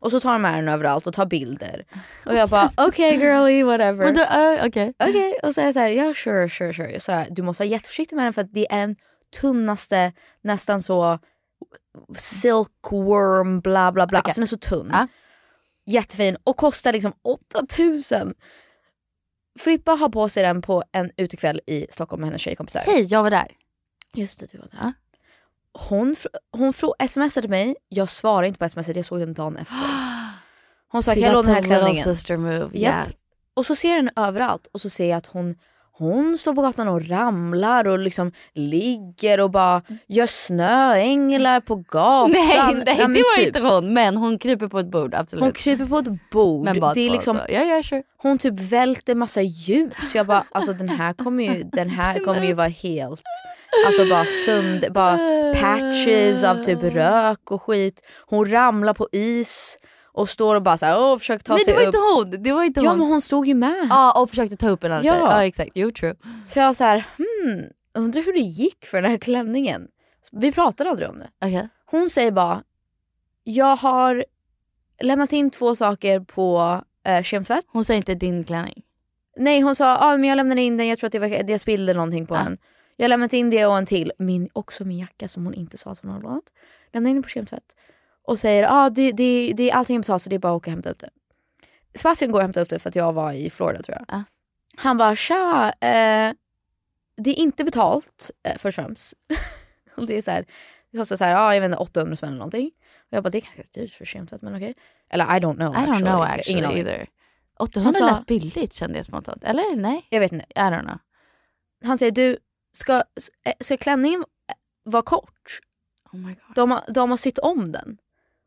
Speaker 3: Och så tar de med den överallt och tar bilder. Och jag
Speaker 4: (laughs)
Speaker 3: bara, okej girlie, whatever.
Speaker 4: Men du, uh, okej.
Speaker 3: Okej, och så är jag så här, ja sure, sure, sure. Så här, du måste vara jätteförsiktig med den för att det är den tunnaste, nästan så silkworm, bla bla bla.
Speaker 4: Okej.
Speaker 3: Alltså den är så tunn. Jättefin och kostar liksom 8000. Frippa har på sig den på en utekväll i Stockholm med hennes tjejkompisar.
Speaker 4: Hej, jag var där.
Speaker 3: Just det, du var där. Hon, fr- hon fr- smsade mig, jag svarade inte på smset, jag såg den dagen (gasps) efter. Hon sa,
Speaker 4: See,
Speaker 3: kan jag låna den
Speaker 4: that's
Speaker 3: här
Speaker 4: a little
Speaker 3: klänningen?
Speaker 4: sister move.
Speaker 3: Japp.
Speaker 4: (laughs) Yeah.
Speaker 3: Och så ser jag den överallt och så ser jag att hon, hon står på gatan och ramlar och liksom ligger och bara gör snöänglar på gatan.
Speaker 4: Nej, nej
Speaker 3: Ja, men
Speaker 4: det var
Speaker 3: typ.
Speaker 4: inte hon. Men hon kryper på ett bord, absolut.
Speaker 3: Hon kryper på ett bord.
Speaker 4: Men bara
Speaker 3: det är
Speaker 4: på,
Speaker 3: liksom,
Speaker 4: så. Ja, ja, sure.
Speaker 3: Hon typ välter massa ljus. Jag bara, alltså den här kommer ju, den här kommer ju vara helt, alltså bara sönder, bara patches av typ rök och skit. Hon ramlar på is och står och bara så här, åh, försöker ta
Speaker 4: Nej
Speaker 3: sig
Speaker 4: det var
Speaker 3: upp.
Speaker 4: inte hon. Det var inte
Speaker 3: Ja
Speaker 4: hon.
Speaker 3: men hon stod ju med.
Speaker 4: Ja, och försökte ta upp en annan
Speaker 3: Ja.
Speaker 4: tjej. Ja exakt, jo true.
Speaker 3: Så jag var så här, hmm, undrar hur det gick för den här klänningen. Vi pratade aldrig om det.
Speaker 4: Okej.
Speaker 3: Hon säger bara, jag har lämnat in två saker på eh, kemtvätt.
Speaker 4: Hon säger inte din klänning.
Speaker 3: Nej hon sa, ah, men jag lämnade in den, jag tror att det var, det jag spillde någonting
Speaker 4: Ah.
Speaker 3: på den. Jag har lämnat in det och en till, min, också min jacka som hon inte sa att hon har lånat. Lämnade in den på kemtvätt. Och säger, ah, det, det, det, allting är betalt så det är bara att åka och hämta upp det. Sebastian går och hämtar upp det för att jag var i Florida tror jag.
Speaker 4: Ja.
Speaker 3: Han bara tja, eh, det är inte betalt eh, först och främst. (laughs) Och det är så här, det kostar så här, ja, jag vet inte, 800 spänn eller någonting. Och jag bara det är ganska dyrt för kemtvätt men okej. Eller I don't know
Speaker 4: I don't
Speaker 3: actually.
Speaker 4: know
Speaker 3: Jag-
Speaker 4: actually
Speaker 3: Ingen aning.
Speaker 4: either. 800
Speaker 3: sa-
Speaker 4: lät billigt kände jag spontant. Eller nej?
Speaker 3: Jag vet inte.
Speaker 4: I don't know.
Speaker 3: Han säger du, ska, eh, ska klänningen eh, vara kort?
Speaker 4: Oh my god.
Speaker 3: De, har- de har sytt om den.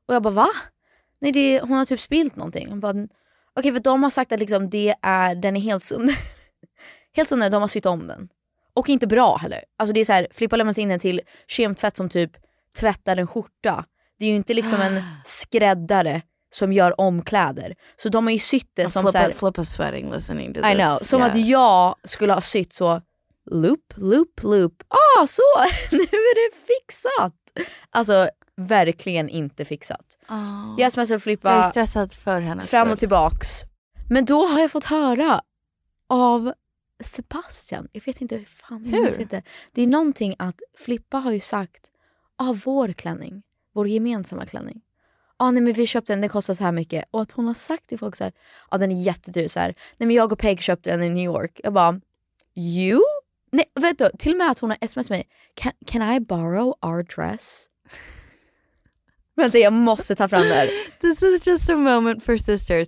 Speaker 3: Och jag bara va? Nej det, hon har typ spilt någonting. Hon bara, "N- Okej för de har sagt att liksom det är, den är helt sönder. (laughs) helt sönder, de har sytt om den. Och inte bra heller. Alltså det är så här, Filippa har lämnat in den till kemtvätt som typ tvättar en skjorta. Det är ju inte liksom en skräddare som gör om kläder. Så de har ju sytt det som så
Speaker 4: flip,
Speaker 3: här,
Speaker 4: flip a sweating listening to this.
Speaker 3: I know. Som
Speaker 4: Yeah.
Speaker 3: att jag skulle ha sytt så loop, loop, loop. Ah, så! (laughs) Nu är det fixat! Alltså verkligen inte fixat.
Speaker 4: Ah.
Speaker 3: Jag smsade
Speaker 4: Jag är
Speaker 3: Filippa
Speaker 4: stressad för hennes
Speaker 3: fram och
Speaker 4: skull.
Speaker 3: tillbaks. Men då har jag fått höra av Sebastian, jag vet inte hur fan, jag
Speaker 4: Hur?
Speaker 3: minns inte. Det är någonting att Flippa har ju sagt, ah vår klänning, vår gemensamma klänning. ah, nej men vi köpte den, den kostar så här mycket. Och att hon har sagt till folk så här, ah, den är jättedyr så här. Nej men jag och Peg köpte den i New York. Jag bara, you? Nej vet du, till och med att hon har sms mig, can, can I borrow our dress? (laughs) Vänta jag måste ta fram det här.
Speaker 4: This is just a moment for sisters.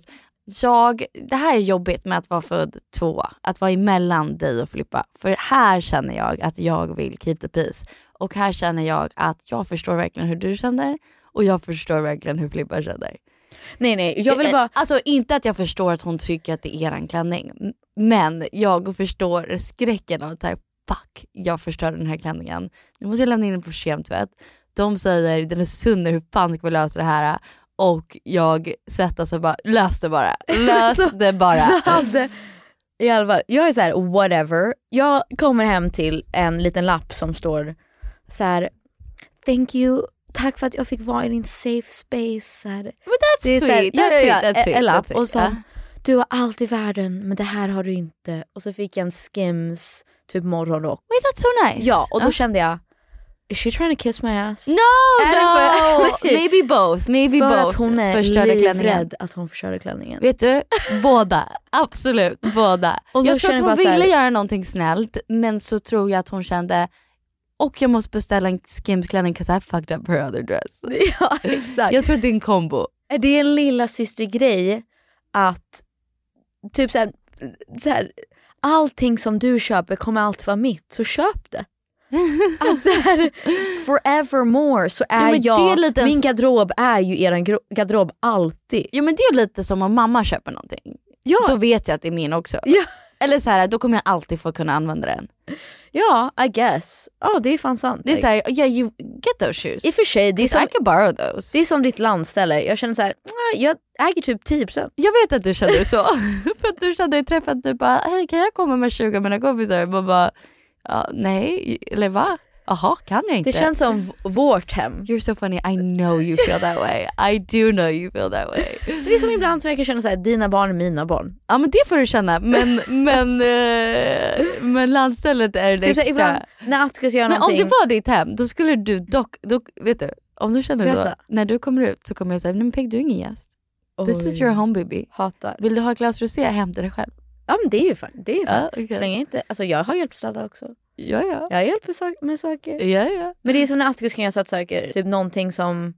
Speaker 4: Jag, det här är jobbigt med att vara född tvåa, att vara emellan dig och Filippa. För här känner jag att jag vill keep the peace. Och här känner jag att jag förstår verkligen hur du känner och jag förstår verkligen hur Filippa känner.
Speaker 3: Nej nej, jag vill bara...
Speaker 4: Alltså inte att jag förstår att hon tycker att det är eran klänning, m- men jag förstår skräcken av att här, fuck, jag förstör den här klänningen. Nu måste jag lämna in den på kemtvätt. De säger den är sönder, hur fan ska vi lösa det här? Och jag svettas och bara, lös det bara,
Speaker 3: (laughs)
Speaker 4: lös
Speaker 3: Så-
Speaker 4: det bara.
Speaker 3: Så hade, i alla fall, jag är så här: whatever. Jag kommer hem till en liten lapp som står så här: thank you, tack för att jag fick vara i din safe space. Så här,
Speaker 4: (laughs) But that's
Speaker 3: det är så här,
Speaker 4: sweet.
Speaker 3: ja,
Speaker 4: That's
Speaker 3: ja, ja,
Speaker 4: sweet. That's sweet.
Speaker 3: en lapp
Speaker 4: That's
Speaker 3: och så
Speaker 4: sweet.
Speaker 3: du har allt i världen men det här har du inte. Och så fick jag en Skims typ morgonrock.
Speaker 4: Wait that's so nice.
Speaker 3: Ja och då
Speaker 4: Ja.
Speaker 3: kände jag, is she trying to kiss my ass?
Speaker 4: No,
Speaker 3: Är det för- (laughs)
Speaker 4: no! Maybe both, maybe
Speaker 3: för
Speaker 4: both.
Speaker 3: att hon är
Speaker 4: Förstörde klänningen.
Speaker 3: livrädd att hon förstörde klänningen. (laughs)
Speaker 4: Vet du, båda. Absolut båda.
Speaker 3: Och då
Speaker 4: Jag tror
Speaker 3: känner
Speaker 4: att
Speaker 3: jag
Speaker 4: hon
Speaker 3: bara så här-
Speaker 4: ville göra någonting snällt men så tror jag att hon kände och jag måste beställa en Skims-klänning 'cause I fucked up her other dress.
Speaker 3: ja exakt.
Speaker 4: Jag tror att det är en kombo.
Speaker 3: Är det en lilla systergrej att typ så här, så här, allting som du köper kommer alltid vara mitt, så köp
Speaker 4: (laughs)
Speaker 3: det. Att så här, forevermore så är
Speaker 4: men det är
Speaker 3: jag,
Speaker 4: lite-
Speaker 3: min garderob är ju er gro- garderob alltid.
Speaker 4: Jo men det är ju lite som om mamma köper någonting.
Speaker 3: Ja.
Speaker 4: Då vet jag att det är min också.
Speaker 3: Ja.
Speaker 4: Eller så här, då kommer jag alltid få kunna använda den.
Speaker 3: Ja, I guess. Ja, det är fan sant.
Speaker 4: Det är såhär, yeah you get those shoes.
Speaker 3: I och för sig, det är, som,
Speaker 4: I can borrow those.
Speaker 3: det är som ditt landställe. Jag känner så här, "Ah, jag äger typ 10%.
Speaker 4: Jag vet att du känner så. (laughs) för att du kände i träffen du bara, hej kan jag komma med 20 av mina kompisar? Man bara, ja, nej, eller va? Jaha, kan jag inte?
Speaker 3: Det känns som v- vårt hem.
Speaker 4: You're so funny, I know you feel that way. I do know you feel that way. (laughs)
Speaker 3: Det är som ibland som jag kan känna så här, dina barn är mina barn.
Speaker 4: Ja men det får du känna, men, men, eh, men landstället är det
Speaker 3: Typ så här,
Speaker 4: extra.
Speaker 3: ibland när Atticus gör
Speaker 4: men om
Speaker 3: någonting.
Speaker 4: det var ditt hem, då skulle du dock, då, vet du, om du känner så,
Speaker 3: Berätta.
Speaker 4: när du kommer ut så kommer jag säga, nej men Peg du är ingen gäst. This is
Speaker 3: Oj.
Speaker 4: your home baby.
Speaker 3: Hatar.
Speaker 4: Vill du ha ett glas rosé, hämta det själv.
Speaker 3: Ja men det är ju fan. Det är ju fan.
Speaker 4: Ja, okej.
Speaker 3: Så länge jag inte, alltså jag har hjälpt städa också.
Speaker 4: Ja ja.
Speaker 3: Jag hjälper sak- med saker.
Speaker 4: Ja ja.
Speaker 3: Men det är som när Atticus kan göra söta saker, typ någonting som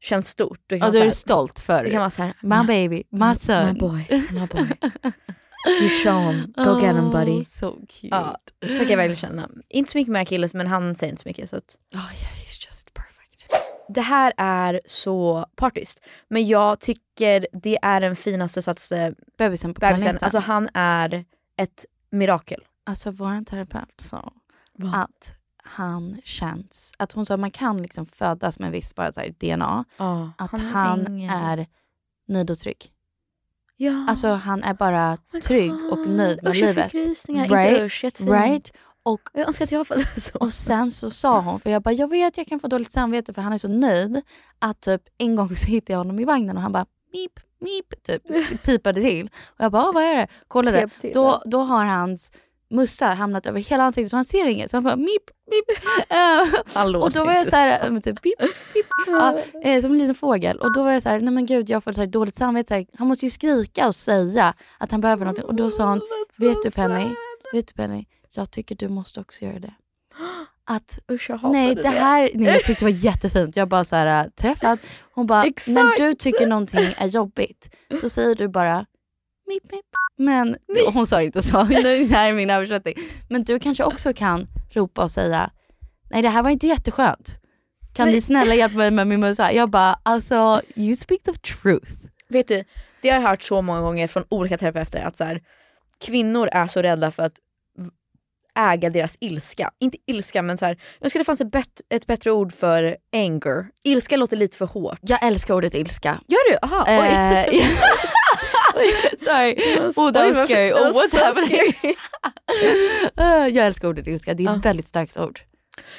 Speaker 3: känns stort. Då kan
Speaker 4: Ja,
Speaker 3: man
Speaker 4: då Alltså, är
Speaker 3: så
Speaker 4: du
Speaker 3: här-
Speaker 4: stolt för
Speaker 3: då
Speaker 4: det.
Speaker 3: kan vara såhär,
Speaker 4: My baby, my son.
Speaker 3: Mm. my boy, my boy. You show him, go get him buddy.
Speaker 4: Oh, so cute.
Speaker 3: Ja, så kan jag verkligen känna. Inte så mycket med Akilles men han säger inte så mycket. Så att
Speaker 4: Oh, yeah, he's just perfect.
Speaker 3: det här är så partiskt. Men jag tycker det är den finaste sötaste
Speaker 4: Bebisen på
Speaker 3: bebisen.
Speaker 4: planeten.
Speaker 3: Alltså han är ett mirakel.
Speaker 4: Alltså vår terapeut sa att han känns, att hon sa att man kan liksom födas med viss bara så här DNA,
Speaker 3: Ja,
Speaker 4: att
Speaker 3: är
Speaker 4: han,
Speaker 3: en ängel.
Speaker 4: är nöjd och trygg.
Speaker 3: Ja.
Speaker 4: Alltså han är bara
Speaker 3: Ah. Oh my
Speaker 4: trygg
Speaker 3: God.
Speaker 4: och nöjd med
Speaker 3: Usch, jag
Speaker 4: livet.
Speaker 3: fick rysningar. Inte usch, jättefin.
Speaker 4: right? Och
Speaker 3: Jag önskar att jag var (laughs) så.
Speaker 4: Och sen så sa hon, för jag bara, jag vet jag kan få dåligt samvete för han är så nöjd, att typ en gång så hittade jag honom i vagnen och han bara mip, mip,
Speaker 3: (laughs)
Speaker 4: typ pipade till. Och jag bara, "Ah, vad är det? Kollade.
Speaker 3: Pep till,
Speaker 4: Då,
Speaker 3: ja.
Speaker 4: då har hans mussa hamnat över hela ansiktet så han ser inget. Så han bara mip, mip.
Speaker 3: (laughs)
Speaker 4: Eh,
Speaker 3: Han
Speaker 4: och
Speaker 3: låter
Speaker 4: då var jag
Speaker 3: inte
Speaker 4: så här, eh, typ pip, pip. Ja, eh, som en liten fågel. Och då var jag så här, nej men gud jag får så här dåligt samvete. Så här, Han måste ju skrika och säga att han behöver någonting. Och då sa hon, vet du Penny, vet du Penny, jag tycker du måste också göra det. (gasps) Att
Speaker 3: (gasps) Usch jag hatar
Speaker 4: Nej, det här nej, jag tyckte det var
Speaker 3: (laughs)
Speaker 4: jättefint. Jag bara så här, äh, träffad. Hon bara, när du tycker någonting är jobbigt så säger du bara mip, mip.
Speaker 3: (laughs)
Speaker 4: Men hon sa det inte så, (laughs) nu är det här är min översättning. Men du kanske också kan ropa och säga, nej det här var inte jätteskönt. Kan du snälla hjälpa mig med min mussa? Jag bara, alltså you speak the truth.
Speaker 3: Vet du, det har jag hört så många gånger från olika terapeuter att så här, kvinnor är så rädda för att v- äga deras ilska. Inte ilska men så här, jag önskar det fanns ett, bet- ett bättre ord för anger. Ilska låter lite för hårt.
Speaker 4: Jag älskar ordet ilska.
Speaker 3: Gör du? Aha,
Speaker 4: Eh,
Speaker 3: oj.
Speaker 4: Sorry,
Speaker 3: was-
Speaker 4: (laughs) oh that
Speaker 3: oj,
Speaker 4: was
Speaker 3: varför-
Speaker 4: scary.
Speaker 3: that
Speaker 4: Oh,
Speaker 3: was
Speaker 4: what's
Speaker 3: so
Speaker 4: (laughs) happening? Eh, jag älskar ordet ilska, det är
Speaker 3: Ja.
Speaker 4: ett väldigt starkt ord.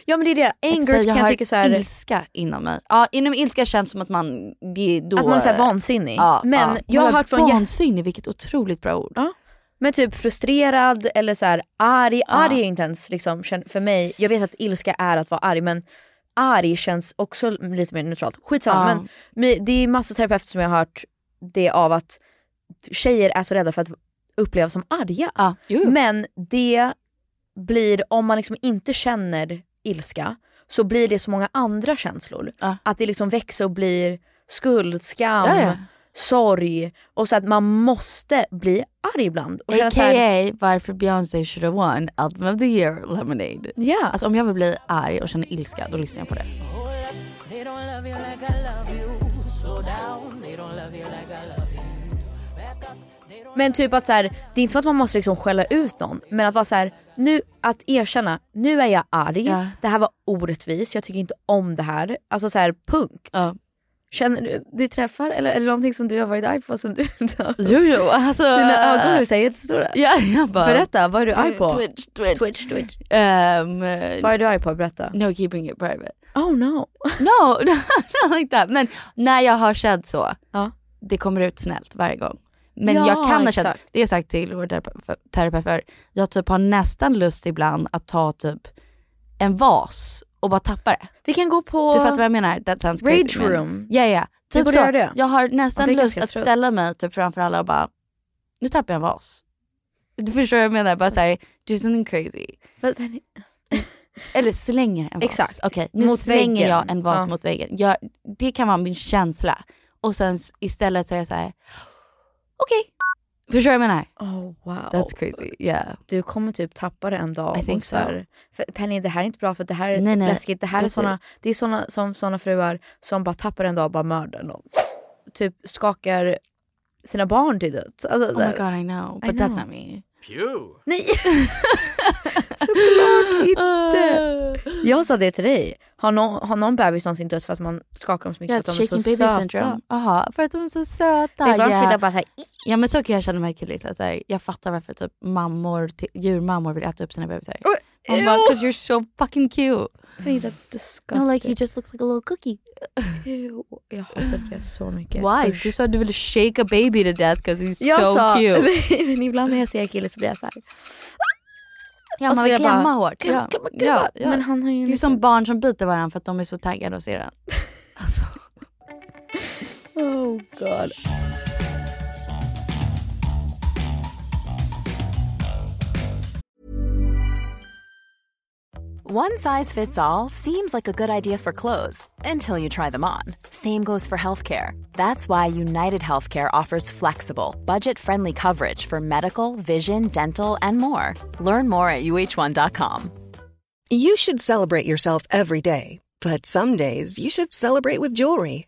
Speaker 3: ja men det är det,
Speaker 4: Att
Speaker 3: anger
Speaker 4: säga,
Speaker 3: Ah. kan jag tycka så här,
Speaker 4: Alltså, har ilska inom mig. Ja, inom ilska känns som att man... Det är då,
Speaker 3: att man är så här vansinnig.
Speaker 4: Ja,
Speaker 3: men
Speaker 4: ja.
Speaker 3: jag har
Speaker 4: Men
Speaker 3: hört från jätte-
Speaker 4: Vansinnig, vilket otroligt bra ord.
Speaker 3: Ja. Men typ frustrerad eller så här arg.
Speaker 4: Ja.
Speaker 3: Arg är inte ens liksom, känn- för mig, jag vet att ilska är att vara arg men arg känns också lite mer neutralt. Skitsamma,
Speaker 4: Ja.
Speaker 3: men men det är massa terapeuter som jag har hört det av att tjejer är så rädda för att upplevas som arga. Men det blir, om man liksom inte känner ilska, så blir det så många andra känslor. Att det liksom växer och blir skuld, skam,
Speaker 4: Ja, ja.
Speaker 3: sorg och så att man måste bli arg ibland. Och känna så
Speaker 4: A.k.a.
Speaker 3: här,
Speaker 4: varför Beyoncé should have won Album of the year Lemonade.
Speaker 3: Yeah.
Speaker 4: Alltså om jag vill bli arg och känna ilska, då lyssnar jag på det.
Speaker 11: They don't love you like I love you. Slow down. They don't love you like I love you. Back up.
Speaker 3: men typ att så här, det är inte som att man måste liksom skälla ut någon, men att vara så här, nu, att erkänna, nu är jag arg,
Speaker 4: Ja.
Speaker 3: det här var orättvist, jag tycker inte om det här. Alltså så här, punkt. Känner du, det träffar, eller är det någonting som du har varit arg på som du inte har...
Speaker 4: Jo, jo, alltså-
Speaker 3: Dina ögon är så här jättestora.
Speaker 4: Ja, jag bara-
Speaker 3: Berätta, vad är du arg på?
Speaker 4: Twitch, Twitch.
Speaker 3: Twitch, Twitch.
Speaker 4: Um,
Speaker 3: Vad är du arg på? Berätta.
Speaker 4: No keeping it private.
Speaker 3: Oh no.
Speaker 4: No, (laughs) not like that. Men när jag har känt så, det kommer ut snällt varje gång. Men
Speaker 3: Ja,
Speaker 4: jag kan ha känt,
Speaker 3: exakt.
Speaker 4: det har jag sagt till vår terape- terapeut för, jag typ har nästan lust ibland att ta typ en vas och bara tappa det.
Speaker 3: Vi kan gå på
Speaker 4: Du fattar vad jag menar? That sounds crazy,
Speaker 3: Rage
Speaker 4: men-
Speaker 3: room.
Speaker 4: Ja, ja.
Speaker 3: Vi
Speaker 4: Typ
Speaker 3: borde
Speaker 4: så.
Speaker 3: göra det.
Speaker 4: Jag har
Speaker 3: Ja,
Speaker 4: nästan
Speaker 3: det är
Speaker 4: lust
Speaker 3: ganska
Speaker 4: att
Speaker 3: trött.
Speaker 4: ställa mig typ framför alla och bara, nu tappar jag en vas. Du förstår vad jag menar? Bara såhär, do something crazy.
Speaker 3: Vad- vad är det?
Speaker 4: Eller slänger en vas.
Speaker 3: Exakt.
Speaker 4: Okej, nu
Speaker 3: Mot
Speaker 4: slänger
Speaker 3: väggen.
Speaker 4: jag en vas
Speaker 3: Ja.
Speaker 4: mot väggen. Jag, det kan vara min känsla. Och sen s- istället så är jag så här, okej. Förstår du vad jag menar?
Speaker 3: (laughs) Oh wow.
Speaker 4: That's crazy. Yeah.
Speaker 3: Du kommer typ tappa det en dag.
Speaker 4: I think
Speaker 3: och så här, för, Penny, det här är inte bra för det här är
Speaker 4: Nej, nej.
Speaker 3: läskigt. Det här är
Speaker 4: Vet du-
Speaker 3: såna, det är såna, som såna fruar som bara tappar en dag och bara mördar någon. Typ skakar sina barn till döds. Alltså,
Speaker 4: Oh my god I know, but that's not me.
Speaker 3: Pew.
Speaker 4: (laughs)
Speaker 3: Nej! (laughs) Såklart
Speaker 4: Ah.
Speaker 3: inte! Jag sa det till dig. Har, nå- har någon bebis någonsin dött för att man skakar dem så mycket
Speaker 4: Ja,
Speaker 3: för att de är så
Speaker 4: shaken baby
Speaker 3: söta?
Speaker 4: syndrome. Jaha, för att de är så söta.
Speaker 3: Det är barn som
Speaker 4: ja.
Speaker 3: vill bara så här,
Speaker 4: ja men så kan jag känna mig killis. Alltså, jag fattar varför typ mammor, till, djurmammor vill äta upp sina bebisar. Man bara,
Speaker 3: ew.
Speaker 4: 'cause you're so fucking cute.
Speaker 3: Nej, that's disgusting.
Speaker 4: No like he just looks like a little cookie.
Speaker 3: Ew. Jag hatar det så mycket.
Speaker 4: Why?
Speaker 3: Usch.
Speaker 4: Du sa att du ville shake a baby to death because he's
Speaker 3: Jag
Speaker 4: so
Speaker 3: sa, (laughs)
Speaker 4: cute.
Speaker 3: men ibland när jag ser killar så blir jag så här.
Speaker 4: Ja,
Speaker 3: Och så
Speaker 4: man vill
Speaker 3: vill jag
Speaker 4: klämma
Speaker 3: bara,
Speaker 4: hårt.
Speaker 3: klämma,
Speaker 4: ja.
Speaker 3: klämma, klämma.
Speaker 4: Ja, ja.
Speaker 3: Men han har ju
Speaker 4: det är
Speaker 3: en
Speaker 4: ju som barn som biter varandra för att de är så taggade och ser den. Alltså.
Speaker 3: Oh god.
Speaker 12: One size fits all seems like a good idea for clothes until you try them on. Same goes for healthcare. That's why United Healthcare offers flexible, budget friendly coverage for medical, vision, dental, and more. Learn more at uh1.com.
Speaker 13: You should celebrate yourself every day, but some days you should celebrate with jewelry.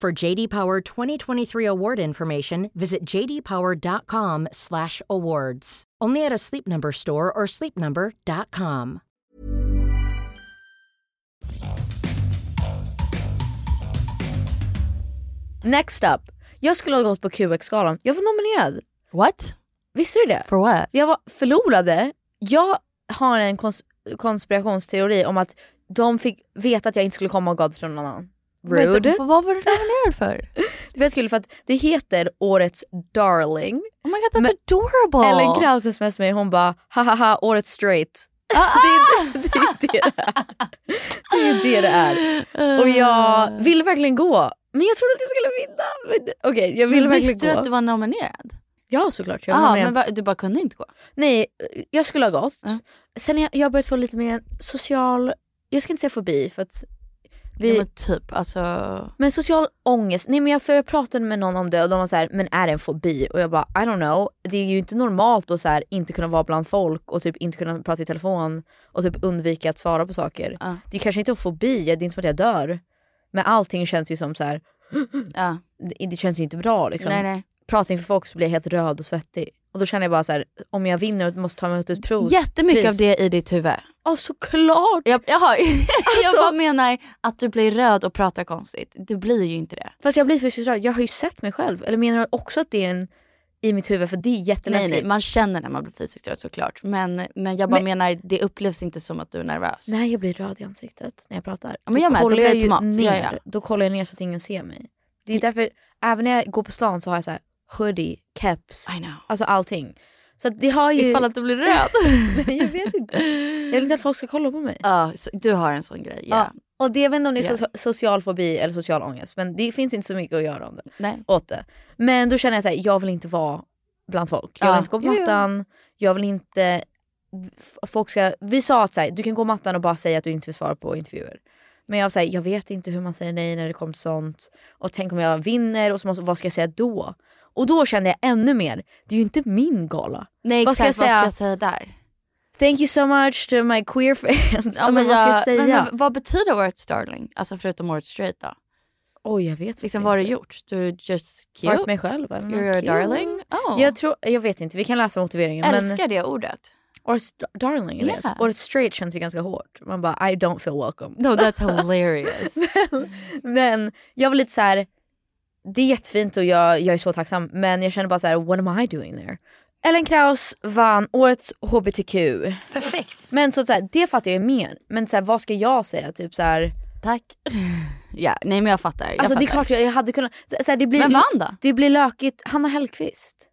Speaker 14: For JD Power 2023 award information, visit jdpower.com/awards. Only at a Sleep Number store or sleepnumber.com.
Speaker 3: Next up. Jag skulle ha gått på QX-galan. Jag var nominerad.
Speaker 4: What?
Speaker 3: Visste du det?
Speaker 4: For what?
Speaker 3: Jag var förlorade. Jag har en kons- konspirationsteori om att de fick veta att jag inte skulle komma och gav det till någon annan. Rude.
Speaker 4: Vänta, Vad var du nominerad för?
Speaker 3: Det var kul för att det heter årets darling.
Speaker 4: Oh my god, that's
Speaker 3: Men-
Speaker 4: adorable!
Speaker 3: Ellen Krause smsade mig hon bara hahaha årets straight.
Speaker 4: Ah,
Speaker 3: Det, är, det är det det är. Det är det det är. Och jag ville verkligen gå. Men jag trodde att jag skulle vinna. Men Okej, jag ville
Speaker 4: Men
Speaker 3: verkligen
Speaker 4: Visste du
Speaker 3: gå.
Speaker 4: att du var nominerad?
Speaker 3: Ja såklart. Jag var
Speaker 4: Ja,
Speaker 3: med.
Speaker 4: men va, du bara kunde inte gå?
Speaker 3: Nej, jag skulle ha gått. Sen har jag, jag har börjat få lite mer social, jag ska inte säga fobi för att vi,
Speaker 4: Ja,
Speaker 3: men,
Speaker 4: men typ, alltså...
Speaker 3: social ångest. Nej men jag, för jag pratade med någon om det och de var så här, men är det en fobi? Och jag bara, I don't know. Det är ju inte normalt att så här, inte kunna vara bland folk och typ inte kunna prata i telefon och typ undvika att svara på saker. Det är kanske inte en fobi, det är inte som att jag dör. Men allting känns ju som så här, det, det känns ju inte bra liksom.
Speaker 4: Nej, nej.
Speaker 3: Pratar inför folk så blir jag helt röd och svettig. Och då känner jag bara så här, om jag vinner och måste ta emot ett prov.
Speaker 4: Jättemycket
Speaker 3: pris.
Speaker 4: av det i ditt huvud.
Speaker 3: Ja såklart!
Speaker 4: Jag, jaha, (laughs) jag
Speaker 3: Alltså-
Speaker 4: bara menar att du blir röd och pratar konstigt. Du blir ju inte det.
Speaker 3: Fast jag blir först rörd, jag har ju sett mig själv. Eller menar du också att det är en i mitt huvud för det är
Speaker 4: Nej,
Speaker 3: jätteläskigt?
Speaker 4: nej, Alltså, man känner när man blir fysiskt röd såklart. Men, men jag bara
Speaker 3: Men-
Speaker 4: menar, det upplevs inte som att du är nervös.
Speaker 3: Nej, jag blir röd i ansiktet när jag pratar.
Speaker 4: Ja, men jag
Speaker 3: då
Speaker 4: med. Då
Speaker 3: kollar
Speaker 4: blir
Speaker 3: jag
Speaker 4: det
Speaker 3: ju
Speaker 4: tomat.
Speaker 3: ner.
Speaker 4: Ja, ja.
Speaker 3: Då kollar jag ner så att ingen ser mig. Det är därför, även när jag går på stan så har jag så här hoodie, keps,
Speaker 4: I know.
Speaker 3: alltså allting. Så att det har ju...
Speaker 4: Ifall att du blir röd.
Speaker 3: (laughs) Nej, jag vet inte. Jag vill inte att folk ska kolla på mig.
Speaker 4: Ja, så du har en sån grej. Ja.
Speaker 3: Ja, och det, jag vet inte om det är
Speaker 4: Ja.
Speaker 3: so- social fobi eller social ångest, men det finns inte så mycket att göra om det.
Speaker 4: Nej.
Speaker 3: åt det. Men då känner jag så här, jag vill inte vara bland folk. Jag vill
Speaker 4: Ja.
Speaker 3: inte gå på
Speaker 4: Jo, jo.
Speaker 3: mattan, jag vill inte... f- Folk ska, vi sa att så här, du kan gå på mattan och bara säga att du inte vill svara på intervjuer. Men jag, var så här, jag vet inte hur man säger nej när det kommer till sånt. Och tänk om jag vinner, och så måste, vad ska jag säga då? Och då kände jag ännu mer, det är ju inte min gala.
Speaker 4: Nej,
Speaker 3: vad ska jag
Speaker 4: exakt,
Speaker 3: säga?
Speaker 4: Vad ska jag säga där?
Speaker 3: Thank you so much to my queer fans.
Speaker 4: Ja,
Speaker 3: alltså,
Speaker 4: men
Speaker 3: vad ska jag
Speaker 4: jag-
Speaker 3: säga?
Speaker 4: men- Men, vad betyder årets darling? Alltså förutom årets straight då?
Speaker 3: Oj, jag vet faktiskt
Speaker 4: Liksom, vad har du
Speaker 3: inte.
Speaker 4: gjort? Du är just cute?
Speaker 3: Varit mig själv. eller något
Speaker 4: You're a
Speaker 3: cute.
Speaker 4: darling? Oh.
Speaker 3: Jag, tror, jag vet inte, vi kan läsa motiveringen. men...
Speaker 4: älskar det ordet.
Speaker 3: Årets d- darling, yeah.
Speaker 4: Yeah.
Speaker 3: vet. Årets straight känns ju ganska hårt. Man bara, I don't feel welcome. (laughs)
Speaker 4: No, that's hilarious.
Speaker 3: Men jag var lite så här. det är jättefint och jag, jag är så tacksam men jag känner bara så här: what am I doing there? Ellen Kraus vann årets hbtq.
Speaker 15: Perfekt.
Speaker 3: Men så, så här, det fattar jag ju mer. Men så här, vad ska jag säga? Typ så här,
Speaker 4: Tack. (laughs) Ja, nej men jag fattar. Jag
Speaker 3: alltså
Speaker 4: fattar.
Speaker 3: det är klart jag, jag hade kunnat. Så, så här, det blir,
Speaker 4: Vem vann då?
Speaker 3: Det blir lökigt. Hanna Hellquist.